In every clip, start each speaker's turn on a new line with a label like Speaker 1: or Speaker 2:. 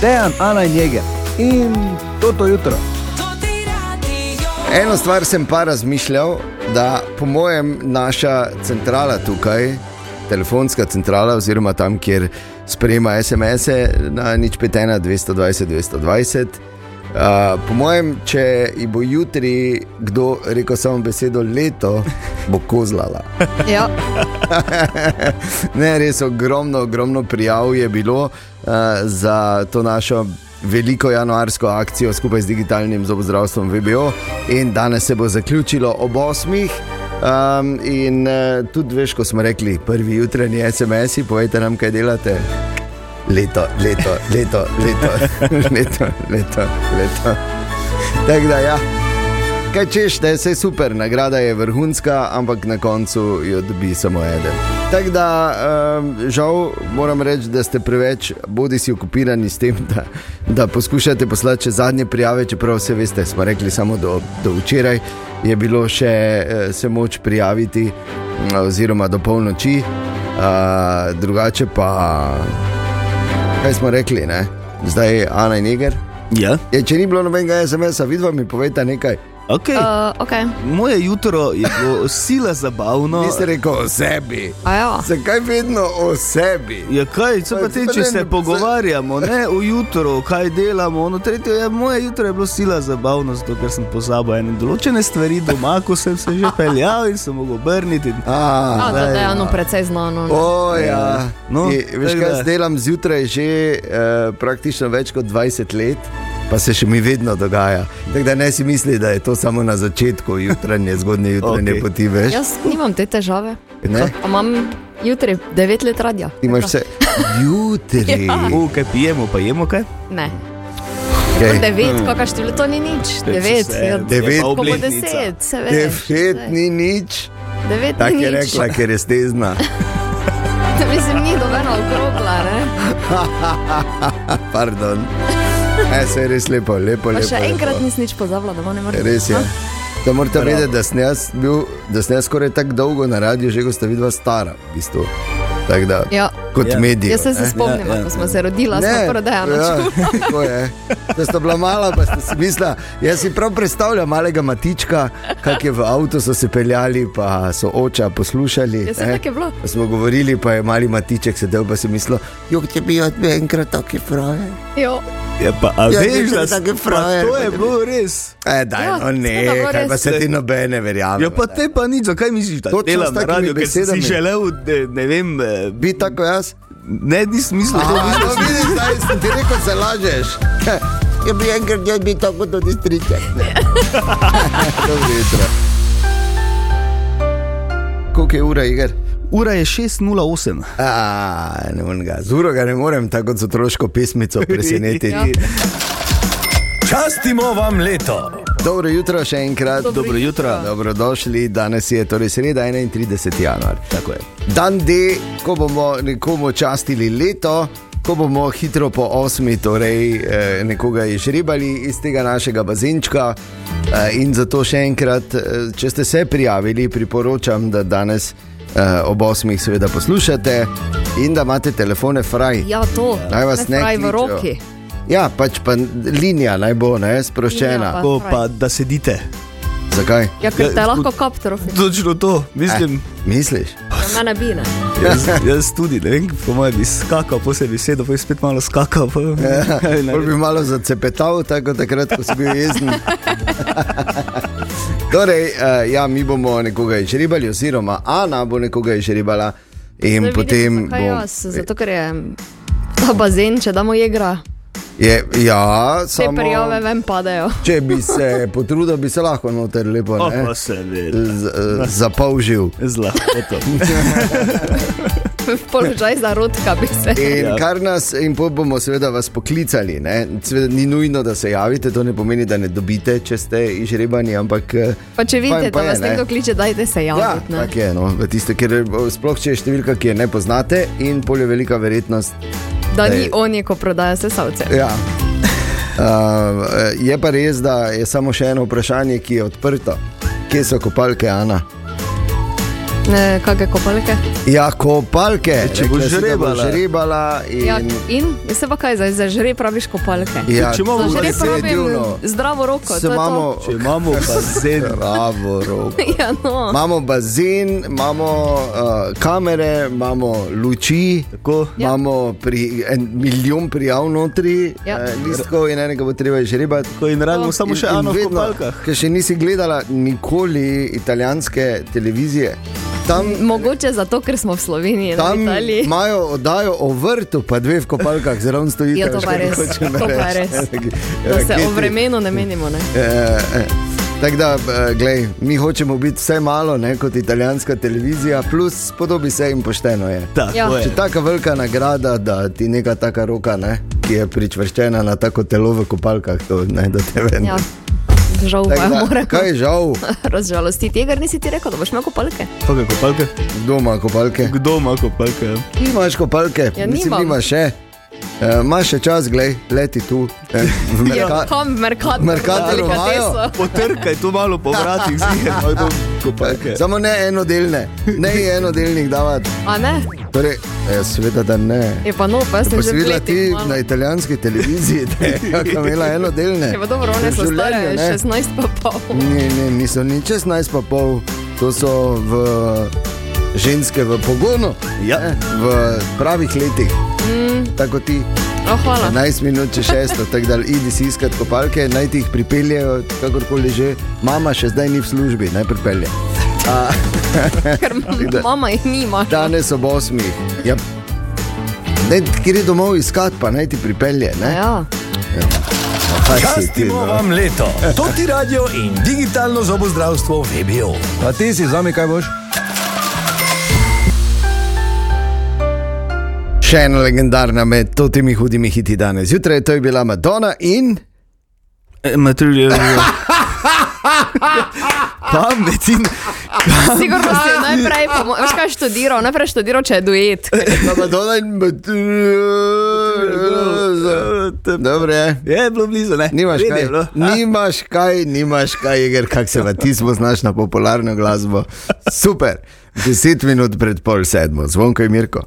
Speaker 1: Dejan, Ana in Jeger. In to to jutro.
Speaker 2: Eno stvar sem pa razmišljal, da po mojem naša centrala tukaj, telefonska centrala, oziroma tam, kjer sprejema SMS-e na nič petena 220 220. Uh, po mojem, če ji bo jutri kdo rekel samo besedo leto, bo kozlala.
Speaker 3: Ja.
Speaker 2: ne, res ogromno, ogromno prijav je bilo uh, za to našo veliko januarsko akcijo skupaj z digitalnim zobozdravstvom VBO in danes se bo zaključilo ob 8. Um, in uh, tudi veš, ko smo rekli, prvi jutranji SMS-i, povejte nam, kaj delate. Leto, leto, leto, leto, leto, leto, leto. Tako da ja. Kaj češ, da je vse super, nagrada je vrhunska, ampak na koncu jo dobi samo eden. Tako da, um, žal moram reči, da ste preveč bodi si okupirani s tem, da, da poskušate poslati še zadnje prijave, čeprav vse veste, smo rekli samo do, do včeraj, je bilo še eh, se moč prijaviti, eh, oziroma do polnoči, uh, drugače pa, kaj smo rekli, ne? zdaj je Ana in Niger.
Speaker 4: Ja,
Speaker 2: Je, če ni bilo nobenega SMS-a, vidva mi povejte nekaj.
Speaker 4: okay.
Speaker 2: Eh.
Speaker 4: uh.
Speaker 3: Uh, okay.
Speaker 4: Moje jutro je bilo sila zabavno.
Speaker 2: Niste rekel o sebi.
Speaker 3: A ja.
Speaker 2: Zakaj vedno o sebi?
Speaker 4: Ja, kaj, co pa te, če se pogovarjamo, ne o jutru, kaj delamo. Ono, tretje, ja, moje jutro je bilo sila zabavno, zato ker sem pozabil ene določene stvari doma, ko sem se že peljal in sem mogel obrniti. in-
Speaker 3: No,
Speaker 2: A,
Speaker 3: to je eno precej znano. ne.
Speaker 2: o, ja. no,
Speaker 4: No,
Speaker 2: je, veš,
Speaker 4: tako
Speaker 2: kaj
Speaker 4: da.
Speaker 2: jaz delam zjutraj že eh, praktično več kot 20 let. Pa se še mi vedno dogaja. Tako da ne si misli, da je to samo na začetku jutranje, zgodnje jutranje okay.
Speaker 4: Okej.
Speaker 2: poti, veš?
Speaker 3: Jaz nimam te težave.
Speaker 2: Ne?
Speaker 3: Pa Imam jutri 9 let radia.
Speaker 2: Ti imaš vse jutri.
Speaker 3: Ja.
Speaker 4: U, kaj pijemo, pa jemo kaj?
Speaker 3: Ne.
Speaker 2: Okej.
Speaker 3: 9, kakšno število, to ni nič. 9,
Speaker 4: vse, je pa
Speaker 2: Devet.
Speaker 3: Ko bo
Speaker 4: obletnica.
Speaker 3: 10, se veš.
Speaker 2: Devet ni nič,
Speaker 3: 9
Speaker 2: tako
Speaker 3: ni
Speaker 2: je
Speaker 3: nič.
Speaker 2: rekla, ker je stezna.
Speaker 3: Mislim, ni dobena okrogla, ne.
Speaker 2: Pardon. E, se je res lepo, lepo,
Speaker 3: Pa
Speaker 2: lepo.
Speaker 3: še
Speaker 2: lepo.
Speaker 3: enkrat nisem nič pozabila, da bo ne morem.
Speaker 2: Res je.
Speaker 3: Ha?
Speaker 2: Da morate vedeti, da sem jaz bil, da sem jaz skoraj tako dolgo na radiju, že ko sta vidva stara, v bistvu. Tako da,
Speaker 3: Ja.
Speaker 2: kot
Speaker 4: Ja.
Speaker 2: medij.
Speaker 3: Jaz se, se
Speaker 2: ne?
Speaker 3: spomnim,
Speaker 4: Ja, ja,
Speaker 3: ko smo se rodila, smo prodajali.
Speaker 2: ja, tako je. Da sta bila mala, pa sta si mislila, jaz si prav predstavljam malega matička, kak je v avtu so se peljali, pa so oča poslušali.
Speaker 3: Ja, saj
Speaker 2: ne.
Speaker 3: tako je bilo.
Speaker 2: Pa smo govorili, pa je mali matiček sedel, pa si mislil, jok ti bi od enkrat taki fraje.
Speaker 3: Jo.
Speaker 4: Ja, pa a
Speaker 2: Ja,
Speaker 4: veš,
Speaker 2: nisem
Speaker 4: da
Speaker 2: taki
Speaker 4: sem
Speaker 2: frajer,
Speaker 4: To
Speaker 2: pa
Speaker 4: je
Speaker 2: da
Speaker 4: bilo res.
Speaker 2: E, daj,
Speaker 3: Ja,
Speaker 2: ja, no
Speaker 3: seveda
Speaker 2: ne,
Speaker 3: bo
Speaker 2: kaj pa
Speaker 3: res.
Speaker 2: se ti nobene verjame.
Speaker 4: Ja, pa te pa nič, zakaj misliš, da
Speaker 2: Točno s
Speaker 4: delam na
Speaker 2: takimi
Speaker 4: radiju, ker sem si
Speaker 2: besedami.
Speaker 4: želel, ne, ne vem, eh,
Speaker 2: Bi tako jaz?
Speaker 4: ne, nisem mislil, da
Speaker 2: A,
Speaker 4: bi
Speaker 2: no, vidiš, zdaj sem ti rekel, se lažeš. Ja bi enkrat jaz bil tako do distrike. Dobro jutro. Koliko je ura, Igor?
Speaker 4: Ura je 6.08.
Speaker 2: A, ne morem ga. Z uro ga ne morem tako kot z otroško pesmico presenetiti.
Speaker 3: Ja.
Speaker 5: Častimo vam leto.
Speaker 2: Dobro jutro še enkrat.
Speaker 3: Dobro
Speaker 4: Dobro jutro.
Speaker 2: Dobrodošli, danes je torej sreda 31. januar.
Speaker 4: Tako je.
Speaker 2: Dan D, ko bomo nekomu častili leto, ko bomo hitro po osmi, torej eh, nekoga izžrebali iz tega našega bazenčka. Eh, In zato še enkrat, eh, če ste se prijavili, priporočam, da danes eh, ob osmih seveda poslušate in da imate telefone fraj.
Speaker 3: Ja, to.
Speaker 2: Naj vas ne
Speaker 3: fraj v
Speaker 2: kličejo.
Speaker 3: roki.
Speaker 2: Ja, pač pa linija naj bo, ne, sproščena. Linija,
Speaker 3: Linija
Speaker 4: Ko Ja, pa da sedite.
Speaker 2: Zakaj?
Speaker 3: Ja, ker te
Speaker 4: Ja,
Speaker 3: lahko kaptrofi.
Speaker 4: Točno to, mislim.
Speaker 2: Misliš?
Speaker 3: Na mene bi ne.
Speaker 2: Eh.
Speaker 4: Jaz, jaz tudi, ne vem, po mojem bi skakal, posebej besedo, pa bi spet malo skakal. Pa,
Speaker 2: Eh, ja, Bolj bi malo zacepetal, tako takrat, ko si bil jezen. torej, eh, ja, mi bomo nekoga izžrebali, oziroma Ana bo nekoga izžrebala. In
Speaker 3: Zdaj
Speaker 2: potem
Speaker 3: vidim, zakaj
Speaker 2: bom-
Speaker 3: jaz, zato ker je ta bazen, če damo igra,
Speaker 2: je, ja,
Speaker 3: te
Speaker 2: samo,
Speaker 3: prijave ven padejo.
Speaker 2: če bi se potrudil, bi se lahko noter lepo
Speaker 4: Oh,
Speaker 2: ne,
Speaker 4: pa se vidi.
Speaker 2: z, eh, zapolžil.
Speaker 4: Zla, to.
Speaker 3: V položaj zarodka bi se.
Speaker 2: In
Speaker 4: Ja.
Speaker 2: kar nas, in pol bomo seveda vas poklicali. Ne? Seveda ni nujno, da se javite, to ne pomeni, da ne dobite, če ste izžrebani, ampak. eh,
Speaker 3: Pa če vidite,
Speaker 2: fajn pa
Speaker 3: da
Speaker 2: je,
Speaker 3: vas
Speaker 2: ne.
Speaker 3: nekdo kliče, dajte se
Speaker 2: Ja,
Speaker 3: javiti. ne.
Speaker 2: tako je. No. V Tiste, ker o, sploh če je številka, ki je ne poznate, in polje velika verjetnost.
Speaker 3: da
Speaker 2: Daj.
Speaker 3: ni on je, ko prodaja sesalce.
Speaker 2: Ja. Uh, je pa res, da je samo še eno vprašanje, ki je odprto. Kje so kopalke, Ana?
Speaker 3: Ne, kakšne kopalke.
Speaker 2: Ja, kopalke.
Speaker 4: E, Če boš
Speaker 2: Rekla si, da boš
Speaker 4: žrebala.
Speaker 2: žrebala in...
Speaker 3: Ja, in Jaz se pa kaj zdaj, za žreb praviš kopalke.
Speaker 2: Ja,
Speaker 4: Če imamo no.
Speaker 3: Za žreb
Speaker 2: saj
Speaker 3: pravim
Speaker 2: divno.
Speaker 3: zdravo roko.
Speaker 2: Se
Speaker 3: to je
Speaker 2: imamo,
Speaker 4: Če imamo bazen,
Speaker 2: Ja. Bravo, Rob.
Speaker 3: to. Ja, no.
Speaker 2: Imamo bazen, imamo uh, kamere, imamo luči,
Speaker 4: tako
Speaker 2: ja. imamo pri, en milijon prijav notri, ja.
Speaker 3: Ja.
Speaker 2: uh, listkov in enega bo treba žrebati.
Speaker 4: ko in rabimo samo še
Speaker 2: No, In- in
Speaker 4: eno v
Speaker 2: vedno, Ja.
Speaker 4: kopalkah.
Speaker 2: Ker še nisi gledala nikoli italijanske televizije. Tam,
Speaker 3: Mogoče zato, ker smo v Sloveniji, ne v
Speaker 2: tam
Speaker 3: Italiji.
Speaker 2: imajo oddajo o vrtu, pa dve v kopalkah, zelo stoji.
Speaker 3: Ja, to pa res, to pa res. Da se o vremenu ne menimo. Ne?
Speaker 2: Eh, Tako da, eh, glej, mi hočemo biti vse malo, ne kot italijanska televizija, plus podobi se jim pošteno je.
Speaker 4: Tako
Speaker 3: Ja.
Speaker 4: je.
Speaker 2: Če taka velika nagrada, da ti neka taka roka, ne, ki je pričvrščena na tako telo v kopalkah, to ne da te ven.
Speaker 3: Ja. Žal pa
Speaker 2: Tako
Speaker 3: je
Speaker 2: da,
Speaker 3: moram
Speaker 2: Kaj je žal,
Speaker 3: razžalosti. Tega nisi ti rekel, da boš imel kopalke.
Speaker 4: Kakšne kopalke?
Speaker 2: kdo ima kopalke?
Speaker 4: Kdo ima kopalke? ja?
Speaker 2: Ti imaš kopalke,
Speaker 3: Ja,
Speaker 2: mislim,
Speaker 3: nimam.
Speaker 2: imaš še. E, imaš še čas, glej, leti tu, e, v
Speaker 3: Ja,
Speaker 2: Merka-
Speaker 3: Kam, merkator,
Speaker 2: Mercator imajo.
Speaker 4: Potrkaj tu malo po vratih, zdi kopalke.
Speaker 2: Eh, Samo ne enodelne, ne jih enodelnih davati.
Speaker 3: A ne?
Speaker 2: Torej, e, seveda, da ne.
Speaker 3: Je pa no, pa jaz sem
Speaker 2: Pa
Speaker 3: že
Speaker 2: si videla
Speaker 3: videla
Speaker 2: ti na italijanski televiziji, da je kaka imela enodelne.
Speaker 3: Je Ja, pa dobro, one
Speaker 2: V
Speaker 3: so stare
Speaker 2: življenju, ne.
Speaker 3: 16 pa pol.
Speaker 2: Ne, ne, niso ni 16 pa pol, to so v ženske v pogonu,
Speaker 4: Ja.
Speaker 2: v pravih letih. Mm. Tako kot ti.
Speaker 3: Oh, hvala.
Speaker 2: 11 minut če 6, tako da idi si iskat kopalke, naj ti jih pripeljejo, kakorkoli že. Mama še zdaj ni v službi, naj pripelje.
Speaker 3: Ker mama jih nima.
Speaker 2: Danes ob 8. Ja. Ne, kjer je domov iskat, pa naj ti pripelje. Ne?
Speaker 3: Ja.
Speaker 2: Kaj si ti?
Speaker 5: Častimo
Speaker 2: No?
Speaker 5: vam leto, Toti Radio in digitalno zobozdravstvo VBO.
Speaker 1: Pa ti si zame, kaj boš?
Speaker 2: Še ena legendarna med temi hudimi hiti danes. Zjutraj to je bila Madonna in.
Speaker 4: Material. Pametin.
Speaker 3: Sigurno si je najprej, po mo- veš kaj je študiral, najprej je študiral, če je duet.
Speaker 2: Madonna in. Dobro je.
Speaker 4: Je bilo blizu, ne?
Speaker 2: Nimaš
Speaker 4: Vedel
Speaker 2: kaj,
Speaker 4: je bilo.
Speaker 2: nimaš kaj, nimaš kaj, Igor, kak se pa ti smo znaš na popularno glasbo. Super, 10 minut pred pol sedmo, zvonko je Mirko.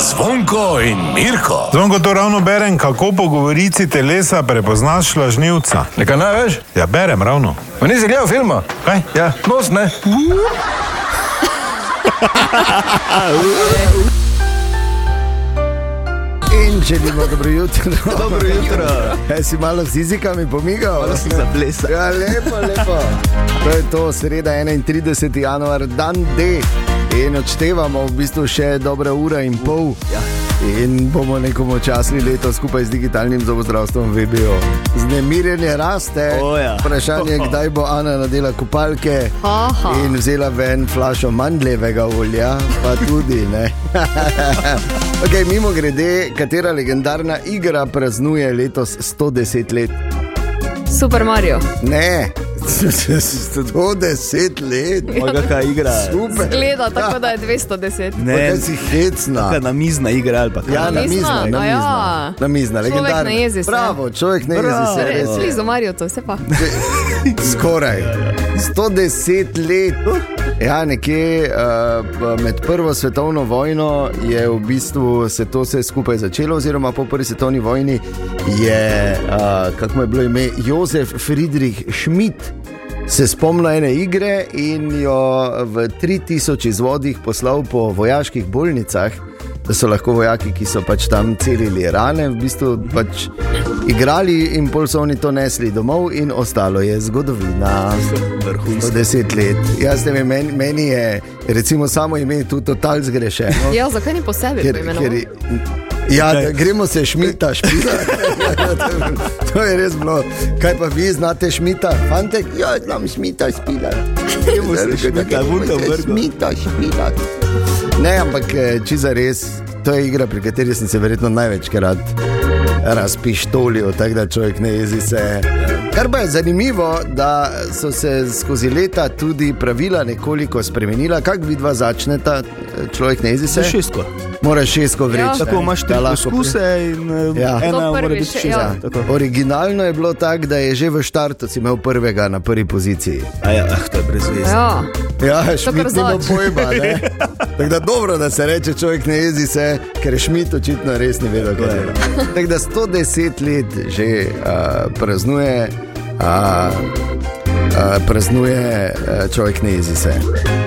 Speaker 5: Zvonko in Mirko.
Speaker 6: Zvonko to ravno berem, kako po govorici telesa prepoznaš lažnivca.
Speaker 5: Nekaj ne veš?
Speaker 6: Ja, berem ravno.
Speaker 5: Pa nisi gledal filma?
Speaker 6: Kaj?
Speaker 5: Ja, nos ne.
Speaker 2: In če imamo dobro jutro,
Speaker 4: Dobro jutro.
Speaker 2: E, si malo z izikami pomigal.
Speaker 4: Malo sem zaplesal.
Speaker 2: Ja, lepo, lepo. To je to, sreda 31. januar, dan D. In odštevamo v bistvu še dobra ura in pol.
Speaker 4: Ja.
Speaker 2: In bomo nekomu časli leto skupaj z digitalnim zobozdravstvom VBO. Znemirjenje raste.
Speaker 4: O, ja.
Speaker 2: Vprašanje je, kdaj bo Ana nadela kopalke
Speaker 3: Aha.
Speaker 2: in vzela ven flašo mandljevega olja, pa tudi ne. okay, mimo grede, katera legendarna igra praznuje letos 110 let?
Speaker 3: Super Mario.
Speaker 2: Ne, 110 let,
Speaker 4: Moj kakšna igra.
Speaker 2: super. Ja.
Speaker 3: Gleda tako, da je 210.
Speaker 2: Ne,
Speaker 4: Ne,
Speaker 2: si hecna.
Speaker 4: kakšna namizna igra ali pa kaj.
Speaker 2: Ja, na
Speaker 3: Namizna,
Speaker 2: mizna, na mizna,
Speaker 3: a ja.
Speaker 2: na mizna,
Speaker 3: Človek
Speaker 2: legendarna.
Speaker 3: ne jezi se.
Speaker 2: Bravo, človek ne jezi se,
Speaker 3: Res,
Speaker 2: res je.
Speaker 3: Blizu Torej, Mario to, vse pa.
Speaker 2: No. Skoraj. 110 let. Ja, nekje uh, med Prvo svetovno vojno je v bistvu se to vse skupaj začelo, oziroma po Prvi svetovni vojni je, uh, kako mu je bilo ime, Jozef Friedrich Schmidt. Se spomnil ene igre in jo v 3000 izvodih poslal po vojaških bolnicah da so lahko vojaki, ki so pač tam celili rane, v bistvu pač igrali in pol so oni to nesli domov, in ostalo je zgodovina.
Speaker 4: Vrhunsko.
Speaker 2: 110 let. Jaz ne vem, meni, meni je recimo samo ime tu total zgrešeno.
Speaker 3: Ja, zakaj ni po sebi?
Speaker 2: Ker,
Speaker 3: poimenoval?
Speaker 2: ker, ja, da, gremo se šmita, šmita. to je res bilo. Kaj pa vi znate šmita? Fantek, ja, znam šmita, špila.
Speaker 4: Gremo se šmita, vunka v vrgo.
Speaker 2: Šmita, špila. Ne, ampak če za res, to je igra, pri kateri sem se verjetno največkrat razpištolil, tako da človek ne jezi se. Kar pa je zanimivo, da so se skozi leta tudi pravila nekoliko spremenila. Kako vidva začneta, človek ne izide?
Speaker 4: Za šestko.
Speaker 2: Moraš šestko vreči.
Speaker 3: Ja.
Speaker 4: Tako
Speaker 2: ne,
Speaker 4: imaš tri
Speaker 2: da lahko
Speaker 4: poskuse in eh,
Speaker 2: Ja.
Speaker 4: ena
Speaker 3: To
Speaker 4: mora
Speaker 3: prvi
Speaker 4: biti
Speaker 3: še,
Speaker 4: šest.
Speaker 3: ja.
Speaker 4: Tako.
Speaker 2: pri- Originalno je bilo tako, da je že v štartu si imel prvega na prvi poziciji.
Speaker 4: A ja, ah, to je brez veze.
Speaker 3: Ja,
Speaker 2: Ja,
Speaker 3: kar
Speaker 2: šmit nima
Speaker 3: zavajaš.
Speaker 2: pojma. ne. Tako da dobro, da se reče, človek ne jezi se, ker šmit očitno res ne ve, kaj
Speaker 4: je.
Speaker 2: dela. Tako da 110 let že uh, praznuje, uh, uh, praznuje uh, človek ne jezi se.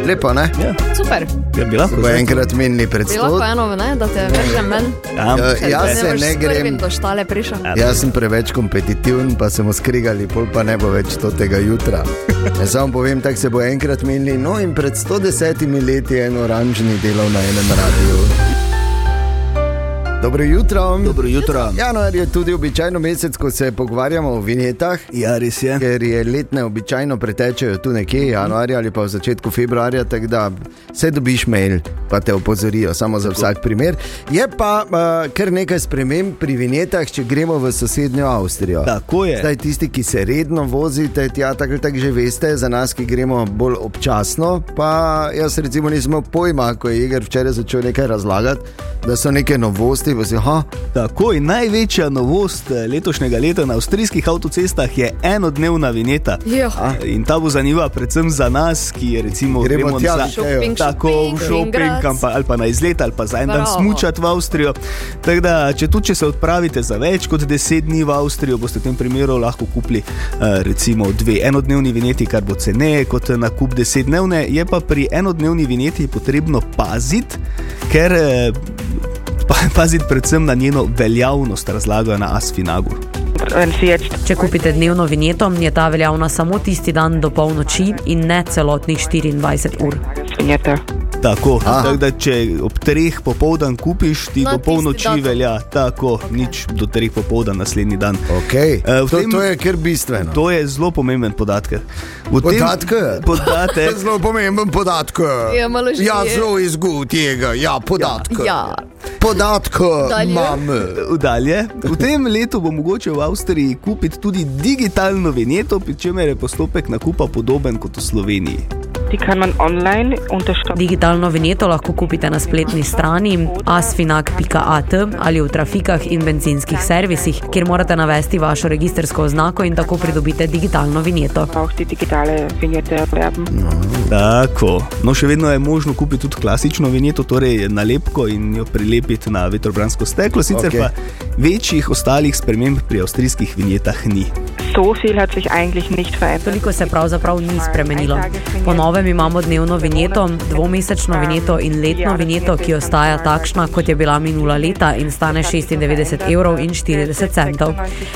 Speaker 2: Lepo, ne?
Speaker 3: super.
Speaker 4: Ja, bi lahko
Speaker 2: Bo
Speaker 4: zdaj.
Speaker 2: enkrat menili
Speaker 3: Bi
Speaker 2: predstav.
Speaker 3: lahko eno, ne, da te več ne meni.
Speaker 4: Ja,
Speaker 2: Ja, jaz se ne grem.
Speaker 3: Do štale prišel.
Speaker 2: Jaz sem preveč kompetitiven, pa smo skrigali, pol pa ne bo več to tega jutra. Ja, samo povem, tako se bo enkrat menili. No, in pred 110 leti je en oranžni delal na enem radiju. Dobro jutro.
Speaker 4: Dobro jutro.
Speaker 2: Januar je tudi običajno mesec, ko se pogovarjamo o vinjetah.
Speaker 4: Ja, res je.
Speaker 2: Ker je letne običajno pretečejo tu nekje januarja ali pa v začetku februarja, tako da se dobiš mail, pa te opozorijo, samo za vsak primer. Je pa uh, kar nekaj sprememb pri vinjetah, če gremo v sosednjo Avstrijo.
Speaker 4: Tako je.
Speaker 2: Zdaj, tisti, ki se redno vozite, tja tako ali tako že veste, za nas, ki gremo bolj občasno, pa jaz recimo nismo pojma, ko je Igor včeraj začel nekaj razlagati, da so neke novosti, pa si, ha,
Speaker 4: Tako in največja novost eh, letošnjega leta na avstrijskih avtocestah je enodnevna vinjeta.
Speaker 3: Ja.
Speaker 4: A, In ta bo zanimiva predvsem za nas, ki recimo
Speaker 2: Gremo
Speaker 4: gremo
Speaker 2: tja,
Speaker 4: za
Speaker 3: Shopping,
Speaker 4: tako v
Speaker 3: shopping,
Speaker 4: šoping
Speaker 3: Graz.
Speaker 4: ali pa, ali pa na izlet ali pa za en dan
Speaker 3: Bravo.
Speaker 4: smučati v Avstrijo. Tako da, če tudi če se odpravite za več kot 10 dni v Avstrijo, boste v tem primeru lahko kupili eh, recimo dve enodnevni vinjeti, kar bo ceneje kot nakup 10-dnevne. Je pa pri enodnevni vinjeti potrebno paziti, ker eh, pa- paziti predvsem na njeno veljavnost, razlagajo na Asfinagu.
Speaker 7: Če kupite dnevno vinjeto, je ta veljavna samo tisti dan do polnoči in ne celotnih 24 ur.
Speaker 4: Tako, tako da če ob treh popoldan kupiš, ti
Speaker 3: No,
Speaker 4: do
Speaker 3: tisti
Speaker 4: polnoči
Speaker 3: datum.
Speaker 4: velja, tako okay. nič do treh popoldan naslednji dan.
Speaker 2: okay,
Speaker 4: Eh, v
Speaker 2: to,
Speaker 4: tem-
Speaker 2: to je kar bistveno.
Speaker 4: To je zelo pomemben podatek. V tem-
Speaker 2: No. Podatke? To
Speaker 4: Podatek.
Speaker 2: je zelo pomemben podatek.
Speaker 3: Ja, malo že
Speaker 2: Ja,
Speaker 3: je.
Speaker 2: zelo izgub tega, ja, podatka.
Speaker 3: Ja.
Speaker 2: Podatka
Speaker 3: Dalje.
Speaker 2: imam.
Speaker 4: Dalje. V tem letu bo mogoče v Avstriji kupiti tudi digitalno vinjeto, pri čemer je postopek nakupa podoben kot v Sloveniji.
Speaker 8: Die kann man online unterschreiben.
Speaker 7: Digitalno vinjeto lahko kupite na spletni strani asfinak.at ali v trafikah in benzinskih servisih, kjer morate navesti vašo registrsko oznako in tako pridobite digitalno vinjeto.
Speaker 8: Auch die digitale Vignette erwerben.
Speaker 4: Tako. No, še vedno je možno kupiti tudi klasično vinjeto, torej nalepko in jo prilepiti na vetrobransko steklo, sicer
Speaker 2: Okej.
Speaker 4: okay. pa večjih ostalih sprememb pri avstrijskih vinjetah ni.
Speaker 8: So viel hat sich eigentlich nicht verändert.
Speaker 7: Veliko se pravzaprav ni spremenilo. Po novem imamo dnevno vinjeto, dvomesečno vinjeto in letno vinjeto, ki ostaja takšna, kot je bila minula leta in stane 96 evrov in 40 centov.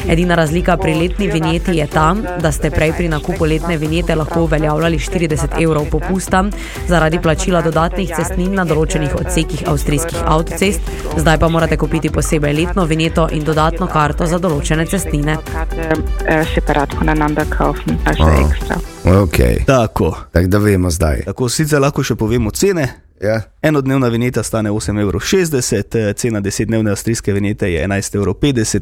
Speaker 7: Edina razlika pri letni vinjeti je ta, da ste prej pri nakupu letne vinjete lahko uveljavljali 40 evrov popusta zaradi plačila dodatnih cestnin na določenih odsekih avstrijskih avtocest, zdaj pa morate kupiti posebej letno vinjeto in dodatno karto za določene cestnine.
Speaker 8: Karte, äh, separat voneinander kaufen, also
Speaker 2: Ah.
Speaker 8: extra.
Speaker 2: Okay.
Speaker 4: Tako.
Speaker 2: Tako da vemo zdaj.
Speaker 4: Tako sicer lahko še povemo cene.
Speaker 2: Ja.
Speaker 4: Enodnevna vinjeta stane 8,60 evrov, eh, cena 10-dnevne avstrijske vinjete je 11,50 evrov,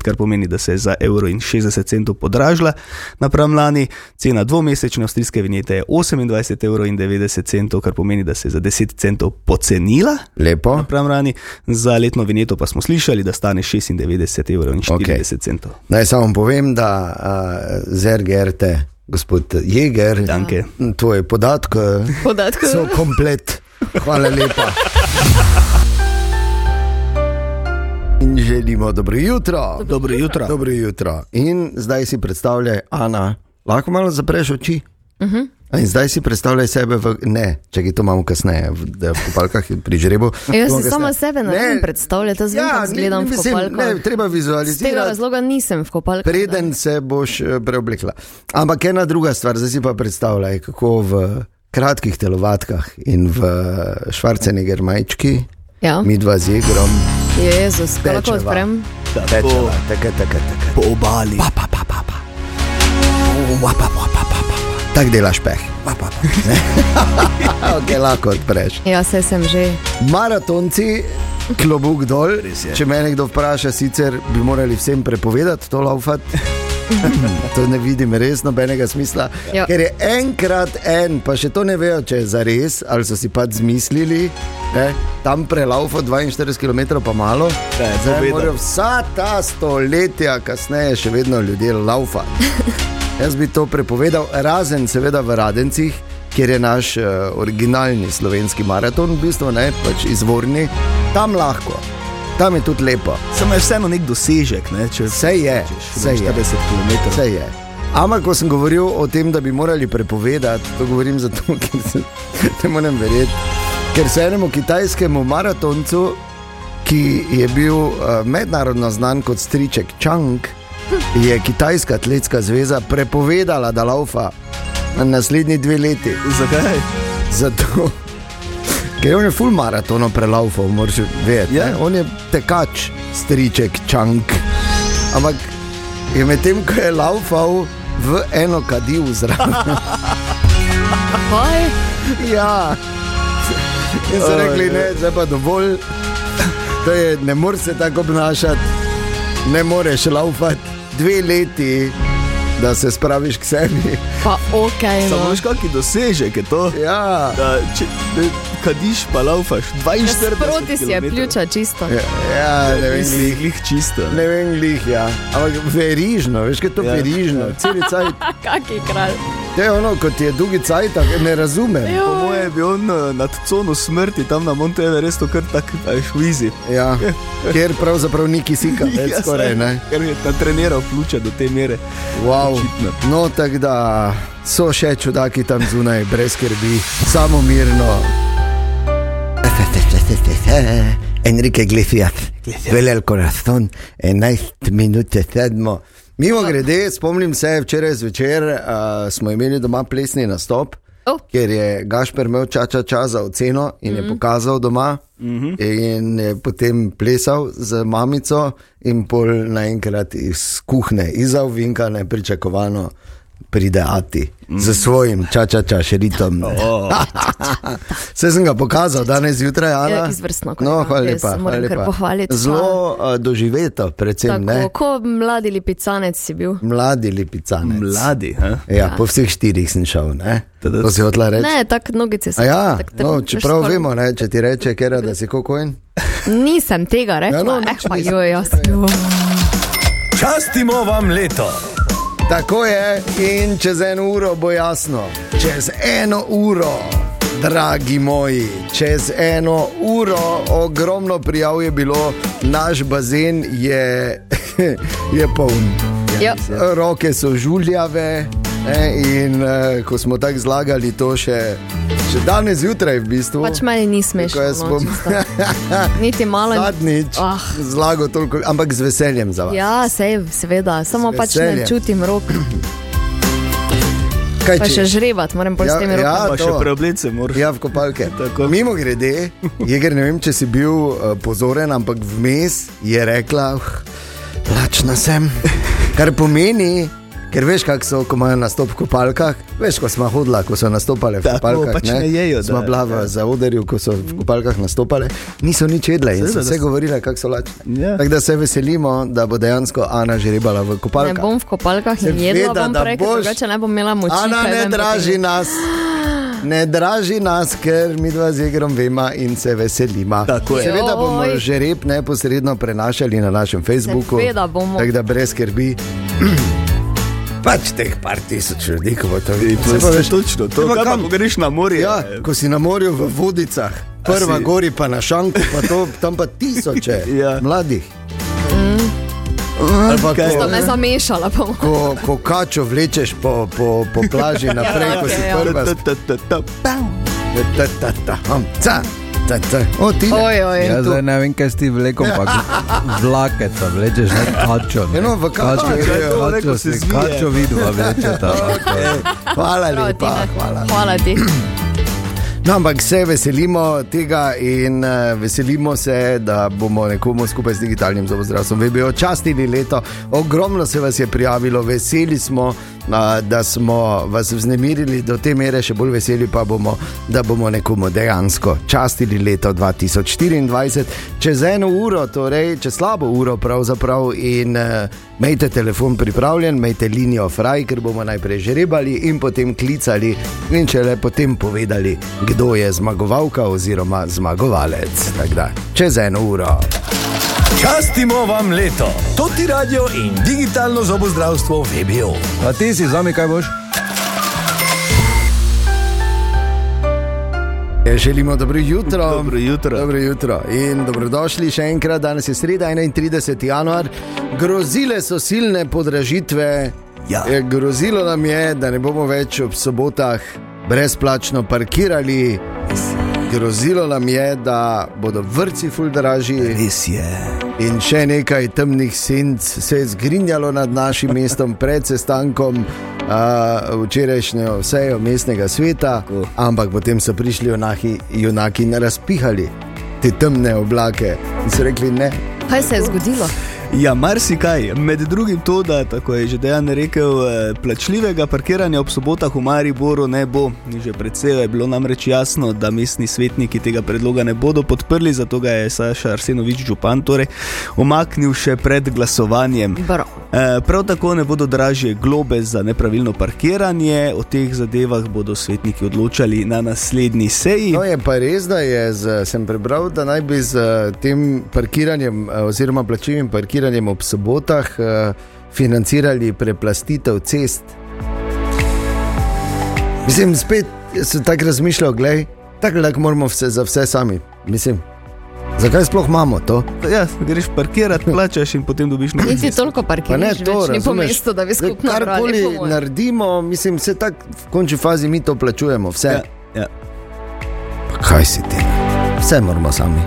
Speaker 4: kar pomeni, da se je za 1,60 centov podražila napram lani. Cena dvomesečne avstrijske vinjete je 28,90 evrov, kar pomeni, da se je za 10 centov pocenila.
Speaker 2: Lepo.
Speaker 4: Napram lani. Za letno vinjeto pa smo slišali, da stane 96,40 evrov.
Speaker 2: Okej.
Speaker 4: centov.
Speaker 2: Naj samo povem, da uh, zergerte, gospod Jeger,
Speaker 4: Danke.
Speaker 2: tvoje podatke
Speaker 3: Podatke.
Speaker 2: so komplet. Hvala lepa. In želimo dobro jutro.
Speaker 4: Dobro jutro.
Speaker 2: Dobro jutro. In zdaj si predstavljaj, Ana, lahko malo zapreš oči.
Speaker 3: Mhm.
Speaker 2: Uh -huh. In zdaj si predstavljaj sebe, v, ne, če ki to imamo kasneje, v, da je v kopalkah in pri žrebu.
Speaker 3: Jaz
Speaker 2: Bomo
Speaker 3: si
Speaker 2: kasneje.
Speaker 3: samo sebe ne morem predstavljati, jaz vem, kako
Speaker 2: ni-
Speaker 3: izgledam v
Speaker 2: mislim,
Speaker 3: kopalkah.
Speaker 2: Ne, treba
Speaker 3: Z tega
Speaker 2: vizualizirati.
Speaker 3: razloga nisem v kopalkah.
Speaker 2: Preden se boš eh, preoblekla. Ampak ena druga stvar, zdaj si pa predstavljaj, kako v kratkih telovatkah in v eh, švarceneger majčki,
Speaker 3: Ja.
Speaker 2: mi dva z igrom,
Speaker 3: Jezus, kako lahko
Speaker 2: Tečeva.
Speaker 3: odprem?
Speaker 2: tečeva, tako, tako, tako.
Speaker 4: Po obali. Pa, pa,
Speaker 2: Tako delaš peh. ok, lahko odpreš.
Speaker 3: Ja, se sem že.
Speaker 2: Maratonci, klobuk dol. Če me nekdo vpraša, sicer bi morali vsem prepovedati to laufat. to ne vidim res nobenega smisla.
Speaker 3: Ja.
Speaker 2: Ker je enkrat en, pa še to ne vejo, če je za res ali so si pač zmislili, ne, tam prelaufo 42 km pa malo.
Speaker 4: Da je
Speaker 2: Zdaj
Speaker 4: povedal.
Speaker 2: morajo vsa ta stoletja kasneje še vedno ljudje laufa. Jaz bi to prepovedal, razen seveda v Radencih, kjer je naš uh, originalni slovenski maraton, v bistvu ne, pač izvorni, tam lahko, tam je tudi lepo.
Speaker 4: Samo je vseeno nek dosežek, ne? če
Speaker 2: Vse je, vse je.
Speaker 4: 40 km.
Speaker 2: Vse je. Ampak, ko sem govoril o tem, da bi morali prepovedati, to govorim zato, ker se, ne morem verjeti. Ker se enemu kitajskemu maratoncu, ki je bil eh, mednarodno znan kot striček Čang, je Kitajska atletska zveza prepovedala, da laufa na naslednji dve leti.
Speaker 4: Zakaj?
Speaker 2: Zato, ker je on je full maratono prelaufal, moraš vedeti.
Speaker 4: Ja.
Speaker 2: ne. On je tekač, striček, čank. Ampak je medtem, ko je laufal, v eno kadil zraven.
Speaker 3: Kaj?
Speaker 2: ja. In so rekli, ne, zdaj pa dovolj, to je, ne moreš se tako obnašati, ne moreš laufati dve leti, da se spraviš k sebi.
Speaker 3: Pa ok,
Speaker 4: Samo
Speaker 3: no.
Speaker 4: veš, kakšen dosežek je to.
Speaker 2: Ja.
Speaker 4: Da, če ne, kadiš, pa laufaš 42 km.
Speaker 3: Sproti si je pljuča čisto.
Speaker 2: Ja, ne vem,
Speaker 4: Mislim, jih čisto. Ne?
Speaker 2: Ne vem, lih, ja. Ampak verižno, veš, kaj je to ja.
Speaker 4: Ja.
Speaker 2: verižno, cel cajt.
Speaker 3: Kaki kralj.
Speaker 2: To je ono, kot je dolgi cajt, ne razumem.
Speaker 4: Po mojem je bil on eh, nad cono smrti, tam na Monte Everestu, kar tako švizi.
Speaker 2: Ja, ker pravzaprav ni kisika, več
Speaker 4: Ja,
Speaker 2: skoraj
Speaker 4: saj,
Speaker 2: ne.
Speaker 4: Ker je ta treniral pljuča do te mere.
Speaker 2: Wow.
Speaker 4: Očitno.
Speaker 2: No, tako da so še čudaki tam zunaj, brez skrbi, samo mirno. Enrique Iglesias, vele el corazón, 11 minut je sedmo. Mimo grede, spomnim se, včeraj zvečer uh, smo imeli doma plesni nastop.
Speaker 3: Oh.
Speaker 2: Ker je Gašpr imel čača čas za oceno in mm -hmm. je pokazal doma, mm -hmm. in je potem plesal z mamico, in pol naenkrat iz kuhne, iz avvinka, nepričakovano pride Ati mm. z svojim čača čašeritom. Oh. Vse sem ga pokazal danes zjutraj, Ana.
Speaker 3: Ja, izvrstno,
Speaker 2: no,
Speaker 3: kolega.
Speaker 2: hvala
Speaker 3: Jaz
Speaker 2: lepa.
Speaker 3: moram
Speaker 2: Hvala
Speaker 3: kar
Speaker 2: lepa.
Speaker 3: pohvaliti,
Speaker 2: Zelo uh, doživeto, predvsem ne.
Speaker 3: Tako, ko mladi lipicanec si bil.
Speaker 2: Mladi lipicanec.
Speaker 4: Mladi, ha?
Speaker 2: Ja, ja. Po vseh štirih sem šel, ne?
Speaker 4: Tada-
Speaker 2: To si hotel reči.
Speaker 3: Ne, tako nogice
Speaker 2: A
Speaker 3: si.
Speaker 2: Ja,
Speaker 3: tako
Speaker 2: no,
Speaker 3: trn-
Speaker 2: čeprav
Speaker 3: škorn-
Speaker 2: vemo, ne, če ti reče, kera, da si kokojen.
Speaker 3: Nisem tega rekla.
Speaker 2: Ja,
Speaker 3: Ja,
Speaker 2: no,
Speaker 3: no,
Speaker 2: nič
Speaker 3: eh, pa
Speaker 2: nisem.
Speaker 3: jo, jaz.
Speaker 5: Častimo vam leto.
Speaker 2: Tako je in čez eno uro bo jasno. Čez eno uro, dragi moji, čez eno uro, ogromno prijav je bilo, naš bazen je, je poln.
Speaker 3: Ja.
Speaker 2: Roke so žuljave. Ne, in uh, ko smo tako zlagali to še, še danes zjutraj, v bistvu,
Speaker 3: Pač meni ni smešno.
Speaker 2: ko jaz
Speaker 3: no,
Speaker 2: bom
Speaker 3: čisto. Niti malo.
Speaker 2: zadnjič
Speaker 3: Ah.
Speaker 2: zlagal toliko, ampak z veseljem za vas.
Speaker 3: Ja, sej, seveda, samo
Speaker 2: Z
Speaker 3: pač ne
Speaker 2: veseljem.
Speaker 3: čutim rok,
Speaker 2: Kaj
Speaker 3: pa
Speaker 2: če-
Speaker 3: še žrebat, moram pol s
Speaker 2: Ja,
Speaker 3: temi
Speaker 2: ja.
Speaker 3: rokami.
Speaker 4: Pa še
Speaker 2: to.
Speaker 4: preoblece moraš.
Speaker 2: Ja, v kopalke.
Speaker 4: Tako.
Speaker 2: Mimo grede, Jeger, ne vem, če si bil uh, pozoren, ampak vmes je rekla, "Uh, lačna sem. Kar pomeni, ker veš, kako so, ko imajo nastop v kopalkah, veš, ko smo hodila, ko so nastopale v
Speaker 4: Tako,
Speaker 2: kopalkah.
Speaker 4: pač ne jejo,
Speaker 2: Smo
Speaker 4: da,
Speaker 2: bila v ja. zaodarju, ko so v kopalkah nastopale, niso nič jedle in
Speaker 4: Seveda,
Speaker 2: so
Speaker 4: da
Speaker 2: vse
Speaker 4: so.
Speaker 2: govorile, kako so lačne.
Speaker 4: Ja.
Speaker 2: Tako da se veselimo, da bo dejansko Ana že ribala v
Speaker 3: Ne
Speaker 2: kopalkah.
Speaker 3: bom v kopalkah in jedla
Speaker 2: Seveda,
Speaker 3: bom
Speaker 2: da
Speaker 3: prej, ker
Speaker 2: boš.
Speaker 3: drugače ne bom imela moči.
Speaker 2: Ana
Speaker 3: kaj
Speaker 2: ne
Speaker 3: vem,
Speaker 2: draži nas. Ne draži nas, ker mi dva z igrom vemo in se veselimo.
Speaker 4: Tako je.
Speaker 2: Seveda bomo
Speaker 3: Joj.
Speaker 2: že rep neposredno prenašali na našem Facebooku.
Speaker 3: Seveda bomo.
Speaker 2: Tako da brez skrbi. Pač teh par tisoč ljudi, ko bo to
Speaker 4: To
Speaker 2: videl.
Speaker 4: je točno to.
Speaker 2: Zdaj pa
Speaker 4: Kaj pa,
Speaker 2: kam?
Speaker 4: ko greš na morje?
Speaker 2: Ja, ko si na morju v vodicah, prva
Speaker 4: si-
Speaker 2: gori pa na šanku, pa to, tam pa tisoče
Speaker 4: Ja.
Speaker 2: mladih. Mm. Ali pa
Speaker 4: kaj?
Speaker 2: ko-
Speaker 3: To me zamešala bom.
Speaker 2: Ko, ko kačo vlečeš po, po, po plaži naprej, ko si
Speaker 3: okej, ja.
Speaker 2: prva
Speaker 4: Ta, ta, ta, ta, ta.
Speaker 2: Ta, ta, ta, ham, ca, ta, ta. O, ti ne.
Speaker 3: Oj, oj,
Speaker 1: Jaz
Speaker 3: tu.
Speaker 1: Ja, zdaj ne vem, kaj si ti vlekel, ampak vlake ta vlečeš, ne kačo. Ne.
Speaker 2: Ja, no, v kačo grejo,
Speaker 4: to
Speaker 1: kačo,
Speaker 4: neko
Speaker 1: kačo,
Speaker 4: se
Speaker 1: se-
Speaker 4: zvije.
Speaker 1: kačo vidva vlečeta.
Speaker 2: Hvala
Speaker 3: Prav,
Speaker 2: lepa.
Speaker 3: Tina.
Speaker 2: Hvala.
Speaker 3: Hvala ti.
Speaker 2: No, ampak se veselimo tega in uh, veselimo se, da bomo nekomu skupaj z digitalnim zobozdravstvom VBO častili leto. Ogromno se vas je prijavilo, veseli smo, a, da smo vas vznemirili do te mere, še bolj veseli pa bomo, da bomo nekomu dejansko častili leto 2024, čez eno uro, torej čez slabo uro pravzaprav. In, eh, Mejte telefon pripravljen, mejte linijo fraj, ker bomo najprej žrebali in potem klicali, in če le potem povedali, kdo je zmagovalka oziroma zmagovalec. Tako da, čez eno uro.
Speaker 5: Častimo vam leto, to ti radio in digitalno zobozdravstvo VBO.
Speaker 1: A ti si zami, kaj boš?
Speaker 2: Ja, Želimo dobro jutro.
Speaker 4: Dobro jutro.
Speaker 2: Dobro jutro in dobrodošli še enkrat. Danes je sreda, 31. januar. Grozile so silne podražitve.
Speaker 5: Ja.
Speaker 2: E, Grozilo nam je, da ne bomo več ob sobotah brezplačno parkirali. Grozilo nam je, da bodo vrci ful dražji.
Speaker 5: Res je.
Speaker 2: In še nekaj temnih senc se je zgrinjalo nad našim mestom pred sestankom uh, včerajšnjo sejo mestnega sveta, ampak potem so prišli junahi, junaki in razpihali te temne oblake in so rekli ne.
Speaker 3: Kaj se je zgodilo?
Speaker 4: Ja, marsikaj. Med drugim to, da tako je že dejan rekel, eh, plačljivega parkiranja ob sobotah v Mariboru ne bo. Že predvsej je bilo namreč jasno, da mestni svetniki tega predloga ne bodo podprli, zato ga je Saša Arsenovič Župan torej omaknil še pred glasovanjem.
Speaker 3: Bro.
Speaker 4: Eh, Prav tako ne bodo dražje globe za nepravilno parkiranje, o teh zadevah bodo svetniki odločali na naslednji seji.
Speaker 2: No, je pa res, da je z, sem prebral, da naj bi z eh, tem parkiranjem, eh, oziroma plačljivim parkiranjem ob sobotah, eh, financirali preplastitev cest. Mislim, spet sem tako razmišljal, gledaj, tako lahko moramo vse, za vse sami. Mislim, zakaj sploh imamo to?
Speaker 4: Ja, greš parkirati, plačaš in potem dobiš nekaj.
Speaker 3: Niti toliko
Speaker 2: Pa
Speaker 3: parkiraš,
Speaker 2: ne,
Speaker 3: več
Speaker 2: to
Speaker 3: ni po
Speaker 2: razumeš.
Speaker 3: mestu, da bi skupno brali, po
Speaker 2: Karkoli
Speaker 3: mojem.
Speaker 2: naredimo, mislim, se tako v končni fazi mi to plačujemo. Vse.
Speaker 4: Ja,
Speaker 2: Ja.
Speaker 4: ja.
Speaker 2: Kaj si ti? Vse moramo sami.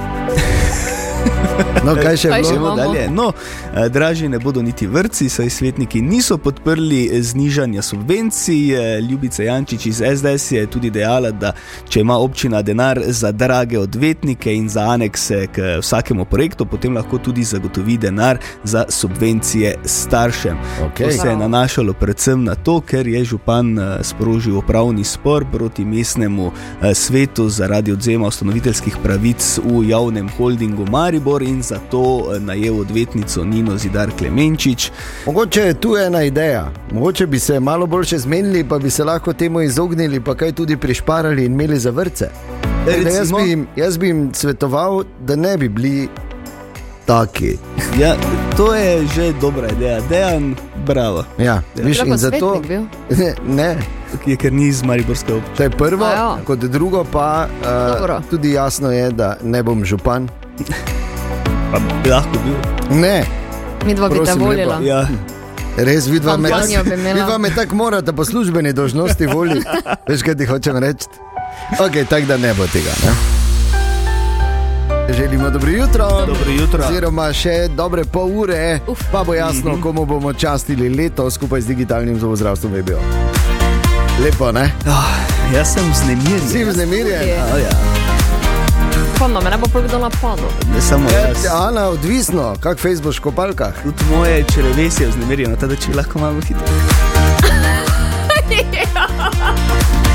Speaker 2: No, kaj še
Speaker 3: Kaj
Speaker 2: bilo?
Speaker 3: še
Speaker 4: Gremo
Speaker 3: imamo?
Speaker 4: dalje. No, eh, dražji ne bodo niti vrtci, saj svetniki niso podprli eh, znižanja subvencij. Eh, Ljubica Jančič iz SDS je tudi dejala, da če ima občina denar za drage odvetnike in za anekse k eh, vsakemu projektu, potem lahko tudi zagotovi denar za subvencije staršem.
Speaker 2: Okej.
Speaker 4: To se je nanašalo predvsem na to, ker je župan eh, sprožil upravni spor proti mestnemu eh, svetu zaradi odzema ustanoviteljskih pravic v javnem holdingu Maribor in zato eh, najel odvetnico Nino Zidar Klemenčič.
Speaker 2: Mogoče je tu ena ideja, mogoče bi se malo bolj še zmenili, pa bi se lahko temu izognili, pa kaj tudi prišparali in imeli za vrtce. Tako da Jaz
Speaker 4: Recimo?
Speaker 2: bi, jim, jaz bi jim svetoval, da ne bi bili taki.
Speaker 4: Ja, to je že dobra ideja, dejan, bravo,
Speaker 2: Ja, viš,
Speaker 3: Lahko
Speaker 2: in zato,
Speaker 3: svetnik bil.
Speaker 2: ne,
Speaker 4: ki je ker ni iz Mariborske občine.
Speaker 2: to je prvo,
Speaker 3: Ajo.
Speaker 2: kot drugo pa
Speaker 3: ja. Dobro.
Speaker 2: uh, tudi jasno je, da ne bom župan.
Speaker 4: Pa bi lahko bil.
Speaker 2: Ne,
Speaker 3: Mi dva bi te
Speaker 2: Prosim,
Speaker 3: volila.
Speaker 4: Ja,
Speaker 2: Res vidva me,
Speaker 3: Kampanjo bi imela.
Speaker 2: vidva me tako morata po službeni dožnosti voliti. Veš, kaj ti hočem reči? Ok, tako da ne bo tega. Ne? Želimo dobro jutro.
Speaker 4: dobro jutro. Mhm.
Speaker 2: Oziroma, še dobre pol ure, Uf. pa bo jasno, komu bomo častili leto skupaj z digitalnim zobozdravstvom. je bilo. Lepo, ne?
Speaker 4: Jaz sem
Speaker 2: Vsi
Speaker 4: znemirjen.
Speaker 2: vznemirjeni.
Speaker 4: Ja, ja.
Speaker 3: Spomnim, no, me ne bo no. prav kdo napadel.
Speaker 4: Ne samo
Speaker 2: Ja,
Speaker 4: jaz.
Speaker 2: Ana, odvisno, kako Facebook škopalkah.
Speaker 4: Tudi moje črevesje je vznemirjeno, tako da če lahko malo hitro.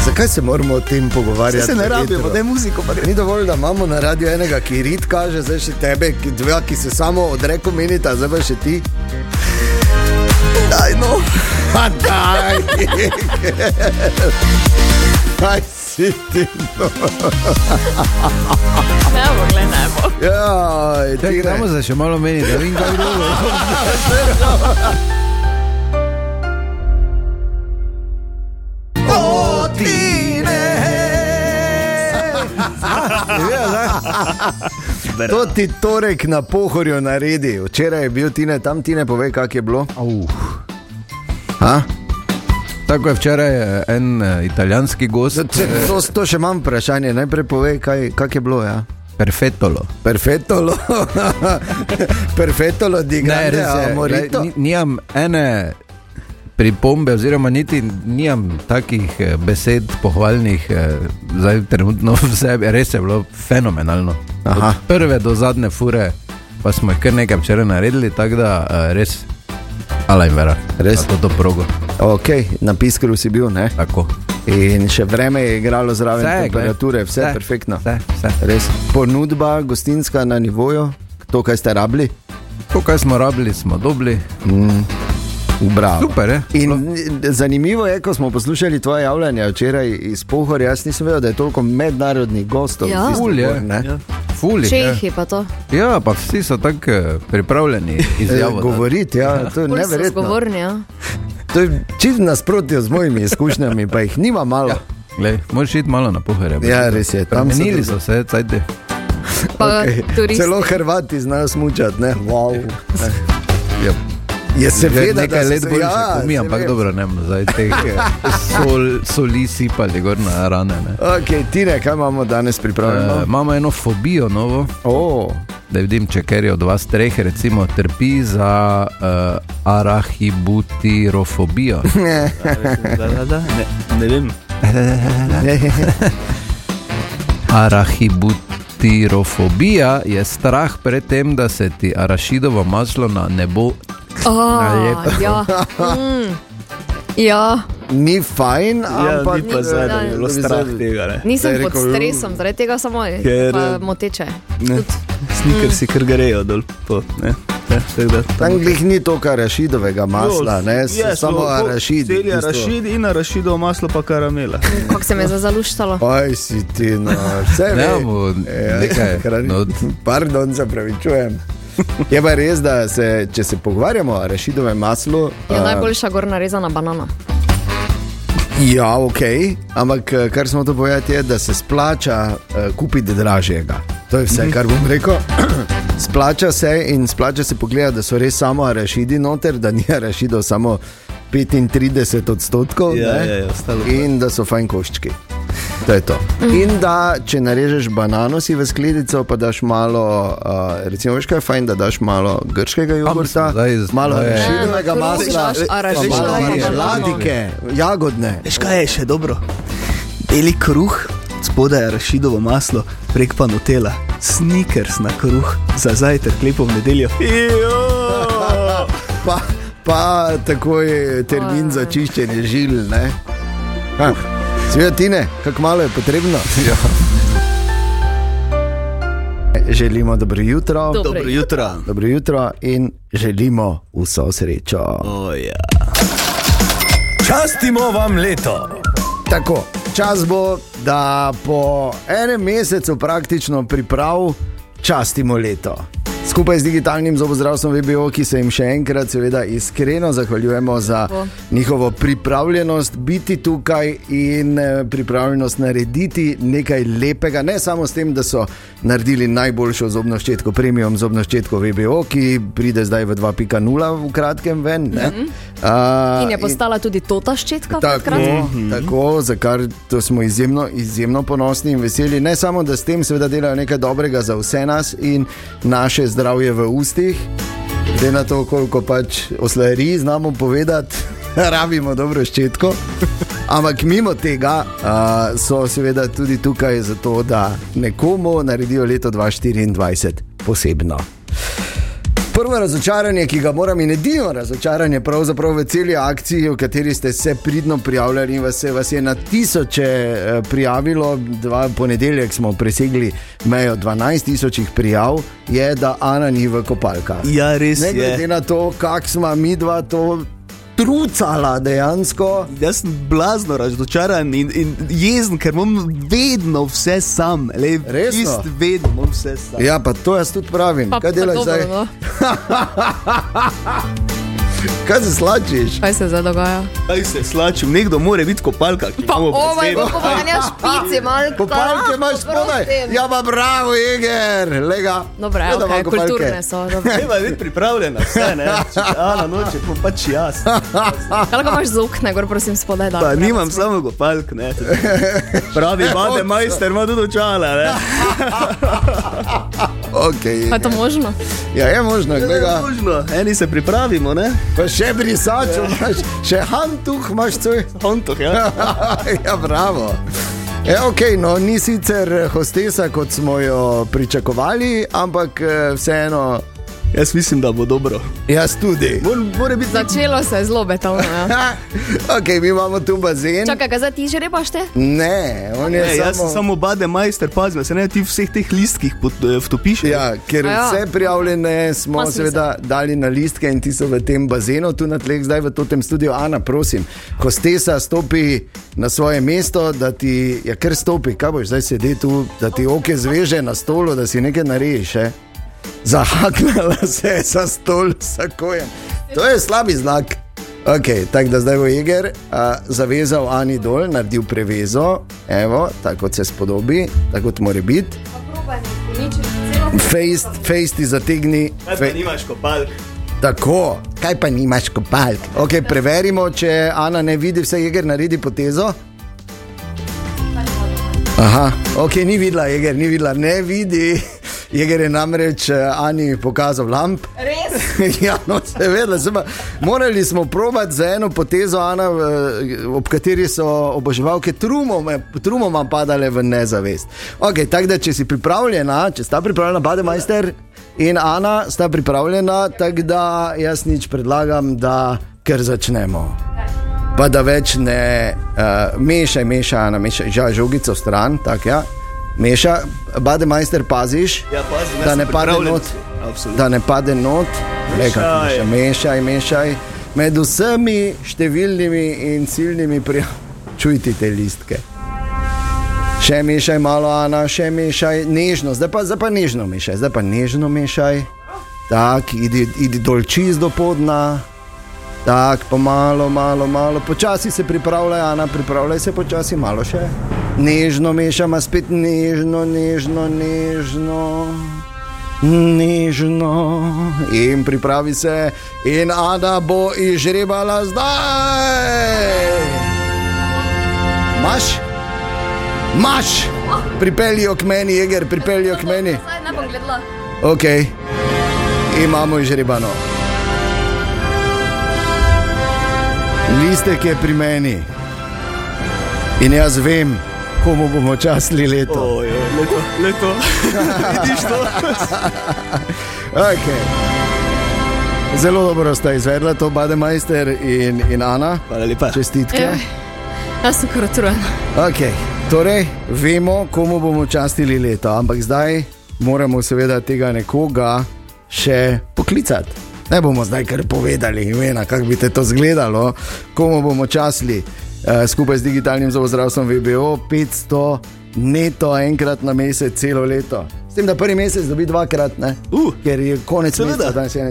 Speaker 2: Zakaj se moramo o tem
Speaker 4: Saj
Speaker 2: pogovarjati?
Speaker 4: Se ne
Speaker 2: na
Speaker 4: rabimo,
Speaker 2: hitro?
Speaker 4: da je muziko. pa gre.
Speaker 2: Ni dovolj, da imamo na radiju enega, ki rit kaže, zdaj še tebe, ki, dva, ki se samo odreko menita, zdaj pa še ti. Daj, no. Pa daj. Kaj si ti? no?
Speaker 3: Ne bo, gled, ne bo.
Speaker 2: Ja, ti
Speaker 1: Čakaj, damo
Speaker 2: gremo.
Speaker 1: se še malo meni, da vidim, kaj drugo.
Speaker 2: To ti torek na pohorju naredi. Včeraj je bil Tine, tam Tine pove, kak je bilo.
Speaker 1: Au.
Speaker 2: Ha?
Speaker 1: Tako je včeraj eh, en eh, italijanski gost,
Speaker 2: To, to še imam vprašanje, najprej pove, kaj, kak je bilo. Ja?
Speaker 1: perfektolo.
Speaker 2: Perfettolo, perfettolo di
Speaker 1: Ne,
Speaker 2: grande
Speaker 1: res je.
Speaker 2: amorito.
Speaker 1: glej, ni- Nimam ene pripombe, oziroma niti nimam takih eh, besed pohvalnih, eh, zdaj trenutno vse, res je bilo fenomenalno.
Speaker 2: Aha.
Speaker 1: Od prve do zadnje fure, pa smo jih kar nekaj včeraj naredili, tako da eh, res. Alain Vera.
Speaker 2: Res?
Speaker 1: To, to progo.
Speaker 2: Okay, na piskru si bil, ne?
Speaker 1: Tako.
Speaker 2: In še vreme je igralo zraven
Speaker 1: Ja. Vse je,
Speaker 2: vse, temperature, vse,
Speaker 1: vse,
Speaker 2: vse perfektno.
Speaker 1: Vse, vse.
Speaker 2: Res. Ponudba, gostinska na nivoju, to, kaj ste rabili,
Speaker 1: To, kar smo rabili, smo dobili.
Speaker 2: bravo.
Speaker 1: Super, eh. je.
Speaker 2: In eh, zanimivo je, ko smo poslušali tvoje javljanje včeraj iz Pohorja, jaz nisem vedel, da je toliko mednarodnih gostov.
Speaker 3: Ja.
Speaker 2: v bistvu
Speaker 1: Ful je.
Speaker 2: gor, ne.
Speaker 1: Fuli.
Speaker 3: Čehi pa to.
Speaker 1: Ja, pa vsi so tako eh, pripravljeni
Speaker 2: E,
Speaker 1: izjaviti.
Speaker 2: Govoriti, ja, to je
Speaker 3: Bolj so
Speaker 2: neverjetno.
Speaker 3: zgovorni, ja.
Speaker 2: To je čist nasprotje z mojimi izkušnjami, pa jih nima malo. Ja.
Speaker 1: Glej, moraš iti malo na pohore.
Speaker 2: Ja, res je, tam so
Speaker 1: Premenili
Speaker 2: drugi.
Speaker 1: so se, cajde.
Speaker 3: Pa turisti.
Speaker 2: Celo Hrvati znajo smučati, ne? Wow.
Speaker 1: Ja.
Speaker 2: Je
Speaker 1: Že
Speaker 2: seveda da
Speaker 1: nekaj
Speaker 2: so
Speaker 1: let
Speaker 2: se-
Speaker 1: bolj ja, mi, ampak
Speaker 2: seveda.
Speaker 1: dobro, ne vem, zdaj teh eh, sol, soli sipali gor na rane. Ne.
Speaker 2: Ok, Tine, kaj imamo danes
Speaker 1: Eh,
Speaker 2: pripravljeno?
Speaker 1: Imamo eno fobijo novo,
Speaker 2: Oh,
Speaker 1: da vidim, če ker je od vas treh, recimo, trpi za uh, arahibutirofobijo.
Speaker 4: Da, da, da. Ne, ne vem.
Speaker 1: Arahibutirofobija je strah pred tem, da se ti arašidovo maslo na nebo.
Speaker 3: Oh,
Speaker 1: Najlepše.
Speaker 3: ja. Mm. ja,
Speaker 2: ni fajn,
Speaker 4: Ja,
Speaker 2: ampak
Speaker 4: ni pa zdaj, da bi bilo strah tega. Ne.
Speaker 2: Zdaj
Speaker 3: nisem pod
Speaker 2: rekel, eh,
Speaker 3: stresom, zaradi tega samo je
Speaker 4: Ker-
Speaker 3: pa moteče.
Speaker 4: Ne. Snikersi kar grejo dol. Po, ne. Ja, tako da, tam-
Speaker 2: Tam glih ni to, kar rašidovega masla, ne, s-
Speaker 4: Ja,
Speaker 2: samo
Speaker 4: so-
Speaker 2: arašid.
Speaker 4: Celi
Speaker 2: tisto.
Speaker 4: arašid in arašidovo maslo pa karamela.
Speaker 3: Kako se me je zdaj zaluštalo.
Speaker 2: Aj si ti, no, vse
Speaker 1: Ne,
Speaker 2: ve.
Speaker 1: bo
Speaker 2: Ja,
Speaker 1: nekaj.
Speaker 2: hrani-
Speaker 1: No,
Speaker 2: Pardon, zapravičujem. Je pa res, da se, če se pogovarjamo o rašidovem maslu, eh,
Speaker 3: Je
Speaker 2: a,
Speaker 3: najboljša gor narezana banana.
Speaker 2: Ja, ok, ampak eh, kar smo to povedali, je, da se splača uh, kupiti dražjega. To je vse, kar bom rekel. splača se in splača se pogledati, da so res samo arašidi noter, da ni arašidov samo 35 odstotkov.
Speaker 4: Ja,
Speaker 2: ne?
Speaker 4: ja, ja, ostalo pa-
Speaker 2: in da so fajn koščki. To je to. In da, če narežeš banano, si v skledico, pa daš malo, uh, recimo, veš kaj je fajn, da daš malo grškega jogurta,
Speaker 1: zdaj z-
Speaker 2: malo
Speaker 1: zdaj-
Speaker 2: arašidovega
Speaker 3: Ja,
Speaker 2: masla, ja,
Speaker 3: kruh daš, arašidov,
Speaker 2: pa malo
Speaker 3: pa banano.
Speaker 2: ladike, jagodne.
Speaker 4: Veš kaj je še dobro? Beli kruh, spodaj je rašidovo maslo, prek pa nutela, snikers na kruh, za zajtrk lepo v nedeljo. Ijo!
Speaker 2: pa, pa takoj termin za čiščenje žil. ne. Ha, Seveda, tine, kako malo je potrebno. Ja. Želimo dobro ja, jutro.
Speaker 3: Dobro.
Speaker 4: Dobro jutro.
Speaker 2: Dobro jutro in želimo vso srečo.
Speaker 4: Oh, ja.
Speaker 5: Častimo vam leto.
Speaker 2: Tako, čas bo, da po enem mesecu praktično priprav častimo leto. Skupaj z digitalnim zobozdravstvom VBO, ki se jim še enkrat, seveda, iskreno zahvaljujemo za
Speaker 3: Tako.
Speaker 2: njihovo pripravljenost biti tukaj in eh, pripravljenost narediti nekaj lepega. Ne samo s tem, da so naredili najboljšo zobno ščetko, premium zobno ščetko VBO, ki pride zdaj v 2.0 v kratkem ven. Mm -hmm.
Speaker 3: Mhm. In je postala tudi tota ščetka,
Speaker 2: Tako, no. Mhm.
Speaker 3: takrat.
Speaker 2: tako, za kar to smo izjemno, izjemno ponosni in veseli. Ne samo, da s tem seveda delajo nekaj dobrega za vse nas in naše zdravje v ustih, glede na to, koliko pač oslari znamo povedati, rabimo dobro ščetko. Ampak mimo tega uh, so seveda tudi tukaj zato, da nekomu naredijo leto 2024 posebno. Prvo razočaranje, ki ga moram in edino razočaranje, pravzaprav v celi akciji, v kateri ste se pridno prijavljali, in vas, je- vas je na tisoče eh, prijavilo, dva ponedeljek smo presegli mejo 12 tisočih prijav, je, da Ana ni v kopalkah.
Speaker 4: ja, res
Speaker 2: Ne glede
Speaker 4: je.
Speaker 2: na to, kako smo mi dva to trucala dejansko.
Speaker 4: Jaz sem blazno razočaran in, in jezen, ker imam vedno vse sam. Le,
Speaker 2: Resno?
Speaker 4: Čist vedno imam vse sam.
Speaker 2: Ja, pa to jaz tudi pravim.
Speaker 3: Pa, pa
Speaker 2: Kaj delaš
Speaker 3: dobro,
Speaker 2: zdaj?
Speaker 3: no.
Speaker 2: Kaj se slačiš?
Speaker 3: Kaj se zdaj dogaja?
Speaker 4: Kaj se slačim, nekdo mora biti kopalka. če
Speaker 3: Pa,
Speaker 4: imamo
Speaker 3: o moj
Speaker 4: presežek.
Speaker 3: bog, pa ne špici, malo.
Speaker 2: Kopalke imaš spodaj. Ja, pa bravo, Eger, lega.
Speaker 3: Dobro,
Speaker 2: Gledava
Speaker 3: okay,
Speaker 2: kopalke.
Speaker 3: kulturne so. dobro.
Speaker 4: Treba biti pripravljena, vse ne. Če Ana noče, pa pač jaz.
Speaker 3: Kaj lahko imaš z okna, gor prosim spodaj. da.
Speaker 4: Pa nimam samo gopalk, ne. Pravi, vade majster ima tudi očala, ne.
Speaker 2: Okay,
Speaker 3: Pa je to možno?
Speaker 2: Ja, je možno,
Speaker 4: Ne,
Speaker 2: gleda.
Speaker 4: možno. Eni se pripravimo, ne.
Speaker 2: Pa še brisač, imaš, še hantuh imaš coj.
Speaker 4: Hontoh, ja.
Speaker 2: ja, bravo. Ja, ok, no, ni sicer hostesa, kot smo jo pričakovali, ampak eh, e, vseeno
Speaker 4: Jaz mislim, da bo dobro.
Speaker 2: Jaz tudi.
Speaker 4: Mora biti
Speaker 3: Začelo se je zelo betovno. Ja.
Speaker 2: ok, mi imamo tu bazen.
Speaker 3: Čakaj, ga zdaj ti že rebaš te?
Speaker 2: Ne, on je
Speaker 4: Ne, jaz sem
Speaker 2: samo.
Speaker 4: samo bade majster, pazi, da se ne ti vseh teh listkih pod, eh, vtopiš.
Speaker 2: Ja, ker
Speaker 3: A ja.
Speaker 2: vse prijavljene smo
Speaker 3: Ma, smisel.
Speaker 2: seveda dali na listke in ti so v tem bazenu, tu na tleh, zdaj v tem studiu. Ana, prosim, ko stesa stopi na svoje mesto, da ti je ja, kar stopi, kaj boš zdaj sedel tu, da ti oke zveže na stolu, da si nekaj narediš. Eh? Zahaknila se je za stol, tako je. To je slabi znak. Okay, tako da zdaj bo Jeger uh, zavezal Ani dol, naredil prevezo, evo, tako kot se spodobi, tako kot mora biti. Face, face ti zategni. Fe,
Speaker 4: nimaš kopal.
Speaker 2: tako, kaj pa nimaš kopalk? Okay, preverimo, če Ana ne vidi vse, jeger naredi potezo. Aha, ok, ni videla, jeger, ni videla, ne vidi. Jeger je namreč eh, Ani pokazal lamp. Res? ja, no, seveda, se pa, morali smo probati za eno potezo, Ana, eh, ob kateri so oboževalke trumoma, trumoma padale v nezavest. Ok, tako da, če si pripravljena, če sta pripravljena, Bade Majster in Ana, sta pripravljena, tako da jaz nič predlagam, da kar začnemo. Pa da več ne uh, mešaj, mešaj, Ana, mešaj, ža, žogico stran, tako ja. Meša, Bade Majster, paziš,
Speaker 4: Ja, pazi,
Speaker 2: da ne pade not
Speaker 4: Absolutno.
Speaker 2: da ne pade not, le kako
Speaker 4: Mešaj.
Speaker 2: še mešaj, mešaj. Med vsemi številnimi in ciljnimi prijatelji čujti te listke. Še mešaj malo, Ana, še mešaj nežno, zdaj pa, zdaj pa nežno mešaj, zdaj pa nežno mešaj. Tako, idi, idi dol čist do podna, tako pomalo, malo, malo, počasi se pripravljaj, Ana, pripravljaj se počasi, malo še. Nežno mešam, a spet nežno, nežno, nežno nežno. In pripravi se, in Ada bo izžrebala zdaj. Maš, maš, pripeljijo k meni, jeger, pripeljijo k meni.
Speaker 3: Zdaj ne bom gledala.
Speaker 2: Ok, imamo izžrebano. Listek je pri meni. In jaz vem, komu bomo častili leto. Oh.
Speaker 4: Ojo, leto, leto. Vidiš to?
Speaker 2: Okay. Zelo dobro sta izvedla to, Bademajster in, in Ana.
Speaker 4: Hvala lepa.
Speaker 2: Čestitke.
Speaker 3: Ej. Jaz sem kar utrujen.
Speaker 2: Okay. Torej, vemo, komu bomo častili leto, ampak zdaj moramo seveda tega nekoga še poklicati. Ne bomo zdaj kar povedali, imena, kako bi te to izgledalo, komu bomo častili eh, skupaj z digitalnim zobozdravstvom VBO 500 neto enkrat na mesec, celo leto. S tem, da prvi mesec dobi dvakrat, ne?
Speaker 4: Uh,
Speaker 2: ker je konec
Speaker 4: seveda.
Speaker 2: meseca, danes je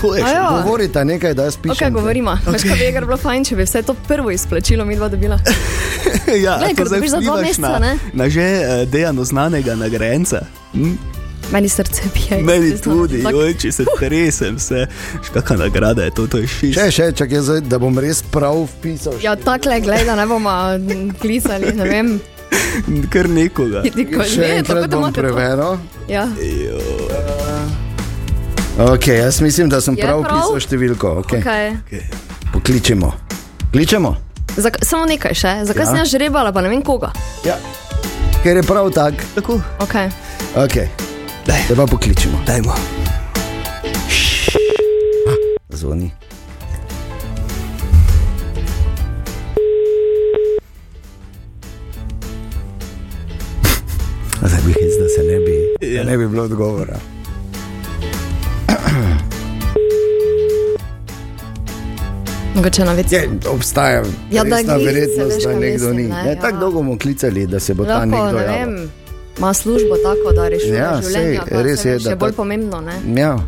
Speaker 2: 31.
Speaker 4: To je še.
Speaker 3: Ajo.
Speaker 2: Govorite nekaj, da jaz pišem.
Speaker 3: Ok, govorimo. Okay. Veš, kaj bi Eger bilo fajn, če bi vse to prvo izplačilo mi dva dobila.
Speaker 4: Ja, to
Speaker 3: Glej, ker
Speaker 4: zdaj
Speaker 3: dobiš za dva
Speaker 4: vplivaš
Speaker 3: meseca,
Speaker 4: na,
Speaker 3: ne?
Speaker 4: na že eh, dejano znanega nagrajenca. Hm?
Speaker 3: Meni srce bije.
Speaker 4: Meni
Speaker 3: Tisto,
Speaker 4: tudi,
Speaker 3: ampak-
Speaker 4: joj, če se tresem, se. Še kakšna nagrada je to, to je šest.
Speaker 2: Še, še, čakaj, zdaj, da bom res prav vpisal.
Speaker 3: Ja, takle, gledaj, da ne bomo m, klicali, ne vem.
Speaker 4: Kar nekoga.
Speaker 3: Nikoli
Speaker 2: Še
Speaker 3: ne, tako
Speaker 2: enkrat
Speaker 3: da
Speaker 2: bom
Speaker 3: imate to.
Speaker 2: preveril.
Speaker 3: Ja.
Speaker 2: Okay, jaz mislim, da sem
Speaker 3: Je
Speaker 2: prav
Speaker 3: prav?
Speaker 2: vpisal številko. Okay. Okay.
Speaker 3: Okay.
Speaker 2: Pokličemo. Kličemo?
Speaker 3: Zak samo nekaj še, zakaj ja. sem jaz žrebala, pa ne vem koga.
Speaker 2: Ja. Ker je prav tak.
Speaker 4: Tako,
Speaker 3: Okay.
Speaker 2: Okay.
Speaker 4: Daj.
Speaker 2: Zdaj pa pokličemo.
Speaker 4: dajmo.
Speaker 2: Zvoni. Zdaj bi hec, da se ne bi, da Ja, ne bi bilo odgovora.
Speaker 3: Mogoče na več.
Speaker 2: Je, obstaja
Speaker 3: Ja,
Speaker 2: ja,
Speaker 3: da
Speaker 2: resna
Speaker 3: glice,
Speaker 2: verjetnost,
Speaker 3: veš,
Speaker 2: da
Speaker 3: kaj
Speaker 2: nekdo ni.
Speaker 3: mislim, ne,
Speaker 2: Ne,
Speaker 3: ja.
Speaker 2: Tako dolgo bomo klicali, da se bo ta
Speaker 3: Lahko,
Speaker 2: nekdo
Speaker 3: ne
Speaker 2: javil.
Speaker 3: vem, ima službo tako, da rešuje
Speaker 2: Ja,
Speaker 3: življenje.
Speaker 2: sej, res je, da
Speaker 3: še bolj
Speaker 2: tak-
Speaker 3: pomembno. Ne?
Speaker 2: Ja.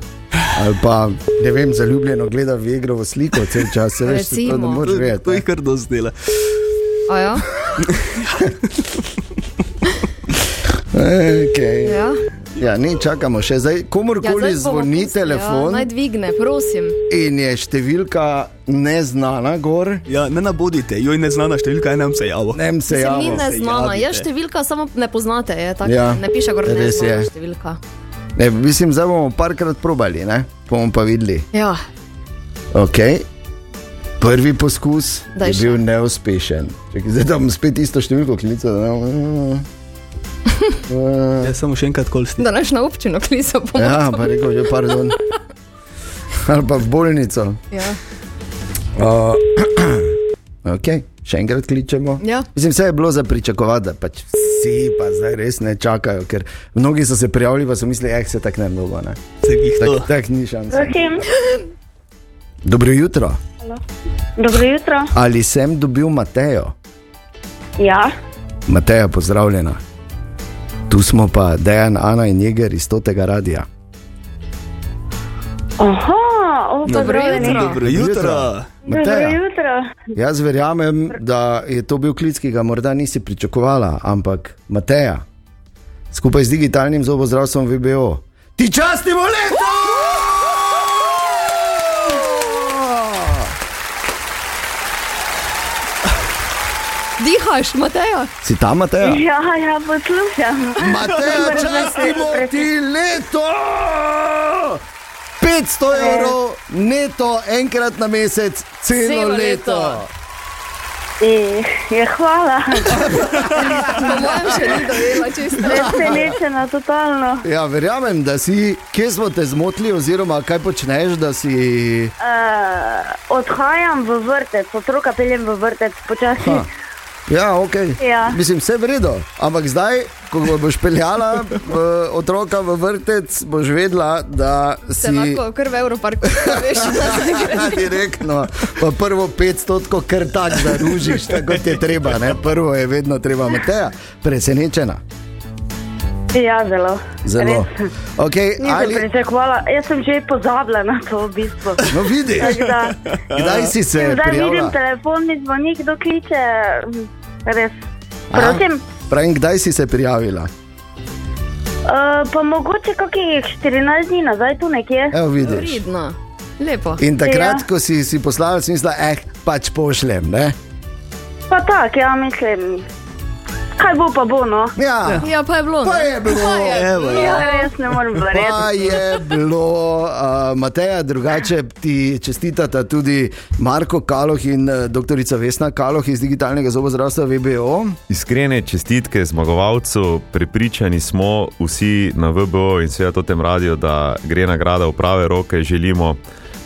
Speaker 2: Ali pa ne vem, zaljubljeno gleda v igro v sliko cel čas, se veš, se to ne
Speaker 3: Recimo.
Speaker 2: moreš vedeti.
Speaker 4: To je
Speaker 2: ne.
Speaker 4: kar dosti dela.
Speaker 3: A Ja,
Speaker 2: Okay.
Speaker 3: ja.
Speaker 2: Ja, ne, čakamo še zdaj.
Speaker 3: Ja,
Speaker 2: Komorkoli
Speaker 3: zdaj
Speaker 2: ja,
Speaker 3: bomo
Speaker 2: zvoni
Speaker 3: pustili, Ja,
Speaker 2: telefon
Speaker 3: naj dvigne, prosim.
Speaker 2: in je številka neznana, gor,
Speaker 4: Ja, ne nabodite, joj neznana številka, je nam se javo.
Speaker 2: ne se
Speaker 3: Se ni
Speaker 2: javi.
Speaker 3: neznana,
Speaker 4: javite.
Speaker 3: je številka, samo ne poznate. Je, tak,
Speaker 2: Ja,
Speaker 3: ja, ne piše gor, ne
Speaker 2: res
Speaker 3: znana
Speaker 2: je.
Speaker 3: številka.
Speaker 2: Ne, mislim, zdaj bomo parkrat probali, ne? bomo pa videli.
Speaker 3: Ja,
Speaker 2: Okay. Prvi poskus
Speaker 3: Daj
Speaker 2: je
Speaker 3: še.
Speaker 2: bil neuspešen. Čekaj, zdaj tam spet isto številko klica.
Speaker 4: Ja, samo še enkrat kolsti.
Speaker 3: da naš na občino klico.
Speaker 2: Ja, pa rekel, že pardon. ali pa v bolnico.
Speaker 3: Ja.
Speaker 2: Uh, ok, še enkrat kličemo.
Speaker 3: Ja.
Speaker 2: Mislim, vse je bilo za pričakovati, da pač vsi pa zdaj res ne čakajo, ker mnogi so se prijavili, pa so mislili, eh, se tak ne bo. ne."
Speaker 4: Se jih to.
Speaker 2: Tako tak ni šans.
Speaker 9: Okay.
Speaker 2: Dobro jutro.
Speaker 9: Dobro jutro.
Speaker 2: Ali sem dobil Matejo?
Speaker 9: Ja,
Speaker 2: Mateja, pozdravljena. Tu smo pa Dejan, Ana in Jeger iz tega radia.
Speaker 9: Aha, o,
Speaker 3: Dobro
Speaker 9: pozdravljeni.
Speaker 3: jutro.
Speaker 4: Dobro jutro.
Speaker 2: jutro.
Speaker 9: Dobro
Speaker 2: Mateja,
Speaker 9: jutro.
Speaker 2: jaz verjamem, da je to bil klic, ki ga morda nisi pričakovala, ampak Mateja, skupaj z digitalnim zobozdravstvom VBO. Ti častimo leto!
Speaker 3: Dihaš, Mateja?
Speaker 2: Si tam, Mateja?
Speaker 9: Ja, ja, poslušam.
Speaker 2: Mateja, častimo ti leto! 500 evrov neto, enkrat na mesec, celo,
Speaker 3: Celo
Speaker 2: leto.
Speaker 3: leto.
Speaker 2: leto.
Speaker 9: E, je, hvala.
Speaker 3: Po mojem še ni dojela čisto.
Speaker 9: Presenečena totalno.
Speaker 2: Ja, verjamem, da si, kje smo te zmotili, oziroma kaj počneš, da si.
Speaker 9: Uh, odhajam v vrtec, otroka peljem v vrtec, počasi.
Speaker 2: Ha. Ja, ok.
Speaker 9: Ja.
Speaker 2: Mislim, vse v redu, ampak zdaj, ko ga boš peljala v otroka v vrtec, boš vedela, da
Speaker 3: Se
Speaker 2: si
Speaker 3: lahko kar v Evroparku veš, da se ne gre.
Speaker 2: Ja, direktno, pa prvo 500, ker tako zaružiš, tako kot je treba. Ne? Prvo je vedno treba, Mateja, presenečena.
Speaker 9: Ja, zelo.
Speaker 2: Zelo.
Speaker 9: Res.
Speaker 2: Okay,
Speaker 9: Nisem
Speaker 2: ali,
Speaker 9: Ali... pričakovala, jaz sem že pozabila na to v bistvu.
Speaker 2: no, vidiš,
Speaker 9: Tako da,
Speaker 2: kdaj si se
Speaker 9: zdaj
Speaker 2: prijavila?
Speaker 9: vidim telefonni zvonik, kdo kliče. Res.
Speaker 2: Aha.
Speaker 9: Prosim, e,
Speaker 2: Pravim, kdaj si se prijavila?
Speaker 9: uh, pa mogoče kakih 14 dni nazaj tu nekje.
Speaker 2: Evo, vidiš.
Speaker 3: Pridno. Lepo.
Speaker 2: In takrat, ja.
Speaker 9: Ja.
Speaker 2: ko si, si poslala, si mislila, eh, pač pošljem. Ne?
Speaker 9: Pa tak, ja mislim. Kaj bo pa bo, no?
Speaker 2: Ja,
Speaker 3: Ja, pa je bilo.
Speaker 2: pa
Speaker 3: ne?
Speaker 2: je bilo.
Speaker 3: Pa je
Speaker 4: Evo, ja.
Speaker 9: Ja, res ne morem verjeti.
Speaker 2: Pa je bilo, uh, Mateja, drugače ti čestitata tudi Marko Kaloh in uh, dr. Vesna Kaloh iz digitalnega zobozdravstva VBO.
Speaker 10: Iskrene čestitke zmagovalcu, prepričani smo vsi na VBO in seveda to tem radijo, da gre nagrada v prave roke. Želimo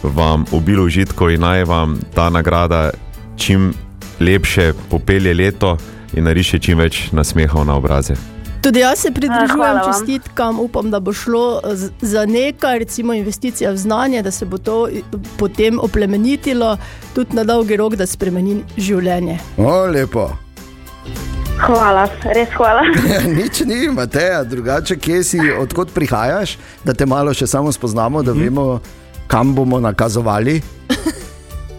Speaker 10: vam obilo užitkov in naj vam ta nagrada čim lepše popelje leto in nariše čim več nasmehov na obraze.
Speaker 11: Tudi jaz se
Speaker 9: Eh, Hvala
Speaker 11: pridružujem
Speaker 9: vam.
Speaker 11: čestitkam, upam, da bo šlo eh, z- za nekaj, recimo investicija v znanje, da se bo to i- potem oplemenitilo, tudi na dolgi rok, da spremeni življenje.
Speaker 2: O, lepo.
Speaker 9: Hvala, res hvala.
Speaker 2: Nič ni, Mateja, drugače, kje si, odkot prihajaš, da te malo še samo spoznamo, da vemo, kam bomo nakazovali.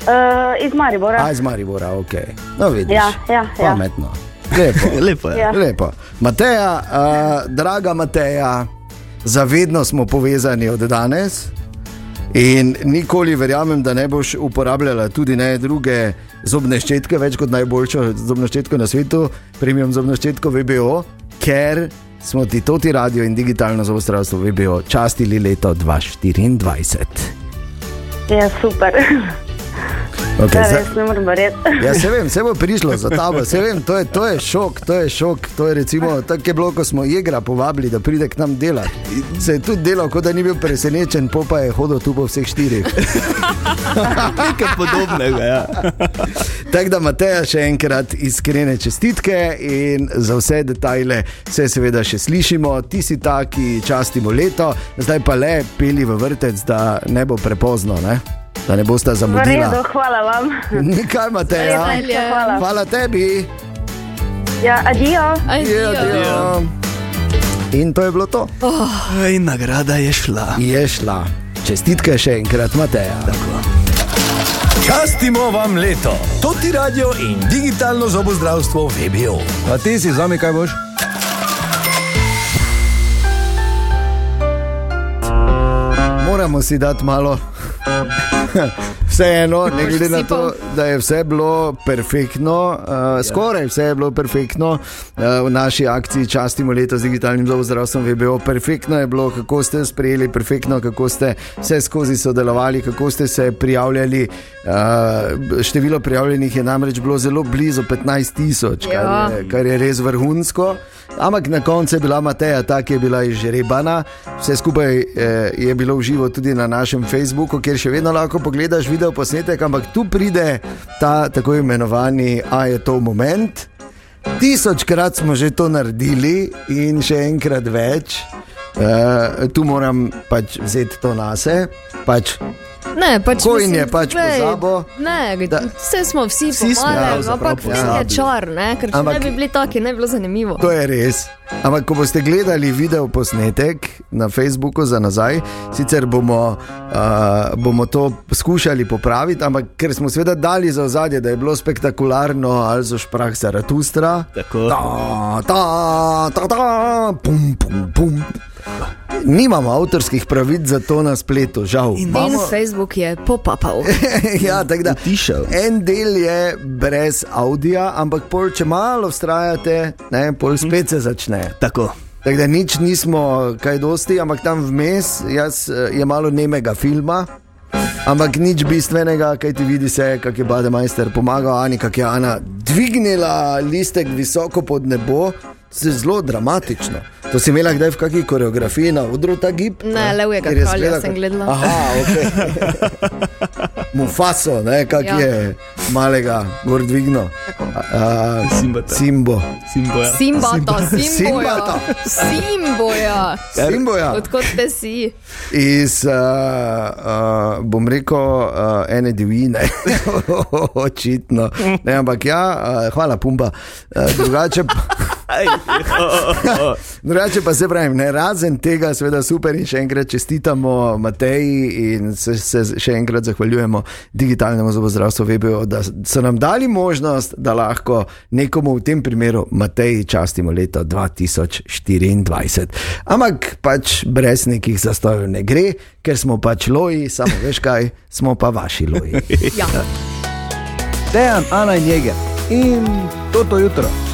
Speaker 9: Uh, iz Maribora.
Speaker 2: Aj, z Maribora, ok. No, vidiš.
Speaker 9: Ja, ja, ja.
Speaker 2: Pametno. Lepo.
Speaker 4: Lepo je.
Speaker 9: Ja.
Speaker 2: Lepo. Mateja, uh, draga Mateja, zavedno smo povezani od danes. In nikoli verjamem, da ne boš uporabljala tudi ne druge zobne ščetke, več kot najboljšo zobno ščetko na svetu, premium zobno ščetko VBO, ker smo ti to ti radio in digitalno zobozdravstvo VBO častili leto 2024.
Speaker 9: Je super. Ja,
Speaker 2: Okay, zdaj-
Speaker 9: res ne morem verjeti.
Speaker 2: Ja, se vem, se bo prišlo za tabo, se vem, to je, to je šok, to je šok. To je recimo tako je bilo, ko smo igra povabili, da pride k nam delati. Se je tudi delal, kot da ni bil presenečen, po pa je hodil tu po vseh štirih.
Speaker 4: Nekaj podobnega. Ja.
Speaker 2: Tako da, Mateja, še enkrat iskrene čestitke in za vse detajle se seveda še slišimo. Ti si ta, ki častimo leto, zdaj pa le peli v vrtec, da ne bo prepozno, ne? da ne boste
Speaker 9: V redu,
Speaker 2: zamudili.
Speaker 9: hvala vam.
Speaker 2: Nikaj,
Speaker 9: Res
Speaker 2: Mateja.
Speaker 9: najlepša hvala.
Speaker 2: Hvala tebi.
Speaker 9: Ja, adijo.
Speaker 2: Ja,
Speaker 3: Adijo.
Speaker 2: Adijo. In to je bilo to.
Speaker 4: Ej, nagrada je šla.
Speaker 2: Je šla. Čestitke še enkrat, Mateja.
Speaker 5: Častimo vam leto, to ti radio in digitalno zobozdravstvo VBO.
Speaker 1: A ti si zami, kaj boš?
Speaker 2: Moramo si dati malo Vseeno, ne
Speaker 3: Boš
Speaker 2: glede na
Speaker 3: sipal. Ja.
Speaker 2: to, da je vse bilo perfektno, uh, skoraj vse je bilo perfektno. Uh, v naši akciji častimo leto z digitalnim zdravstvom VBO. Perfektno je bilo, kako ste jo sprejeli, perfektno, kako ste vse skozi sodelovali, kako ste se prijavljali. Uh, število prijavljenih je namreč bilo zelo blizu 15 tisoč, kar, je-
Speaker 3: Ja.
Speaker 2: kar je res vrhunsko. Ampak na koncu je bila Mateja, ta ki je bila izžrebana. Vse skupaj eh, je bilo v živo tudi na našem Facebooku, kjer še vedno lahko pogledaš video posnetek, ampak tu pride ta tako imenovani A je to moment. Tisočkrat smo že to naredili in še enkrat več. Eh, tu moram pač vzeti to nase. Pač,
Speaker 3: Ne, pač
Speaker 2: Kojin je
Speaker 3: mislim,
Speaker 2: pač
Speaker 3: glej,
Speaker 2: pozabo.
Speaker 3: Ne, vse smo vsi,
Speaker 2: Vsi smo
Speaker 3: pomale,
Speaker 2: pravzaprav
Speaker 3: ampak vse je
Speaker 2: pozabili.
Speaker 3: čar, ne, ker če
Speaker 2: Ampak-
Speaker 3: ne bi bili taki, ne bi bilo zanimivo.
Speaker 2: To je res. Ampak, ko boste gledali video posnetek na Facebooku za nazaj, sicer bomo, uh, bomo to skušali popraviti, ampak ker smo seveda dali za ozadje, da je bilo spektakularno, ali so šprah Zaratustra. Tako. Ta, ta, ta, ta, pum, pum, pum. Nimamo avtorskih pravic za to na spletu, žal.
Speaker 3: In Facebook je popapal.
Speaker 2: ja, tako da. En del je brez audija, ampak pol, če malo vztrajate, ne, pol spet se začne.
Speaker 4: Tako.
Speaker 2: Tako da nič nismo kaj dosti, ampak tam vmes jaz, eh, je malo nemega filma. Ampak nič bistvenega, kaj ti vidi se, kako je Bademajster pomagal, Ani, kako je Ana dvignila listek visoko pod nebo, se zelo dramatično. To si imela kdaj v kakšni koreografiji na odru ta gib?
Speaker 3: Ne, levjega
Speaker 2: Ker je
Speaker 3: kralja
Speaker 2: izgleda
Speaker 3: sem
Speaker 2: kot-
Speaker 3: gledala.
Speaker 2: Aha, ok. Mufaso, ne, kak
Speaker 3: Ja.
Speaker 2: ja. je malega, gor dvigno. Simbata. Simbo.
Speaker 4: Simbo, ja.
Speaker 3: Simbata, simboja.
Speaker 2: Simbata.
Speaker 3: Simboja.
Speaker 2: Simboja.
Speaker 3: Odkot ste si?
Speaker 2: Iz, uh, uh, bom rekel, uh, ene divjine, očitno. Ne, ampak ja, uh, hvala, pumba. Uh, drugače, pa, drugače pa se pravim, ne, razen tega, seveda super in še enkrat čestitamo Mateji in se, se še enkrat zahvaljujemo digitalnemu zobozdravstvu VBO, da so nam dali možnost, da lahko nekomu v tem primeru Mateji častimo leto 2024. Ampak pač brez nekih zastojev ne gre, ker smo pač loji, samo veš kaj, smo pa vaši loji.
Speaker 3: Ja.
Speaker 2: Dejan, Ana in Jeger in toto jutro.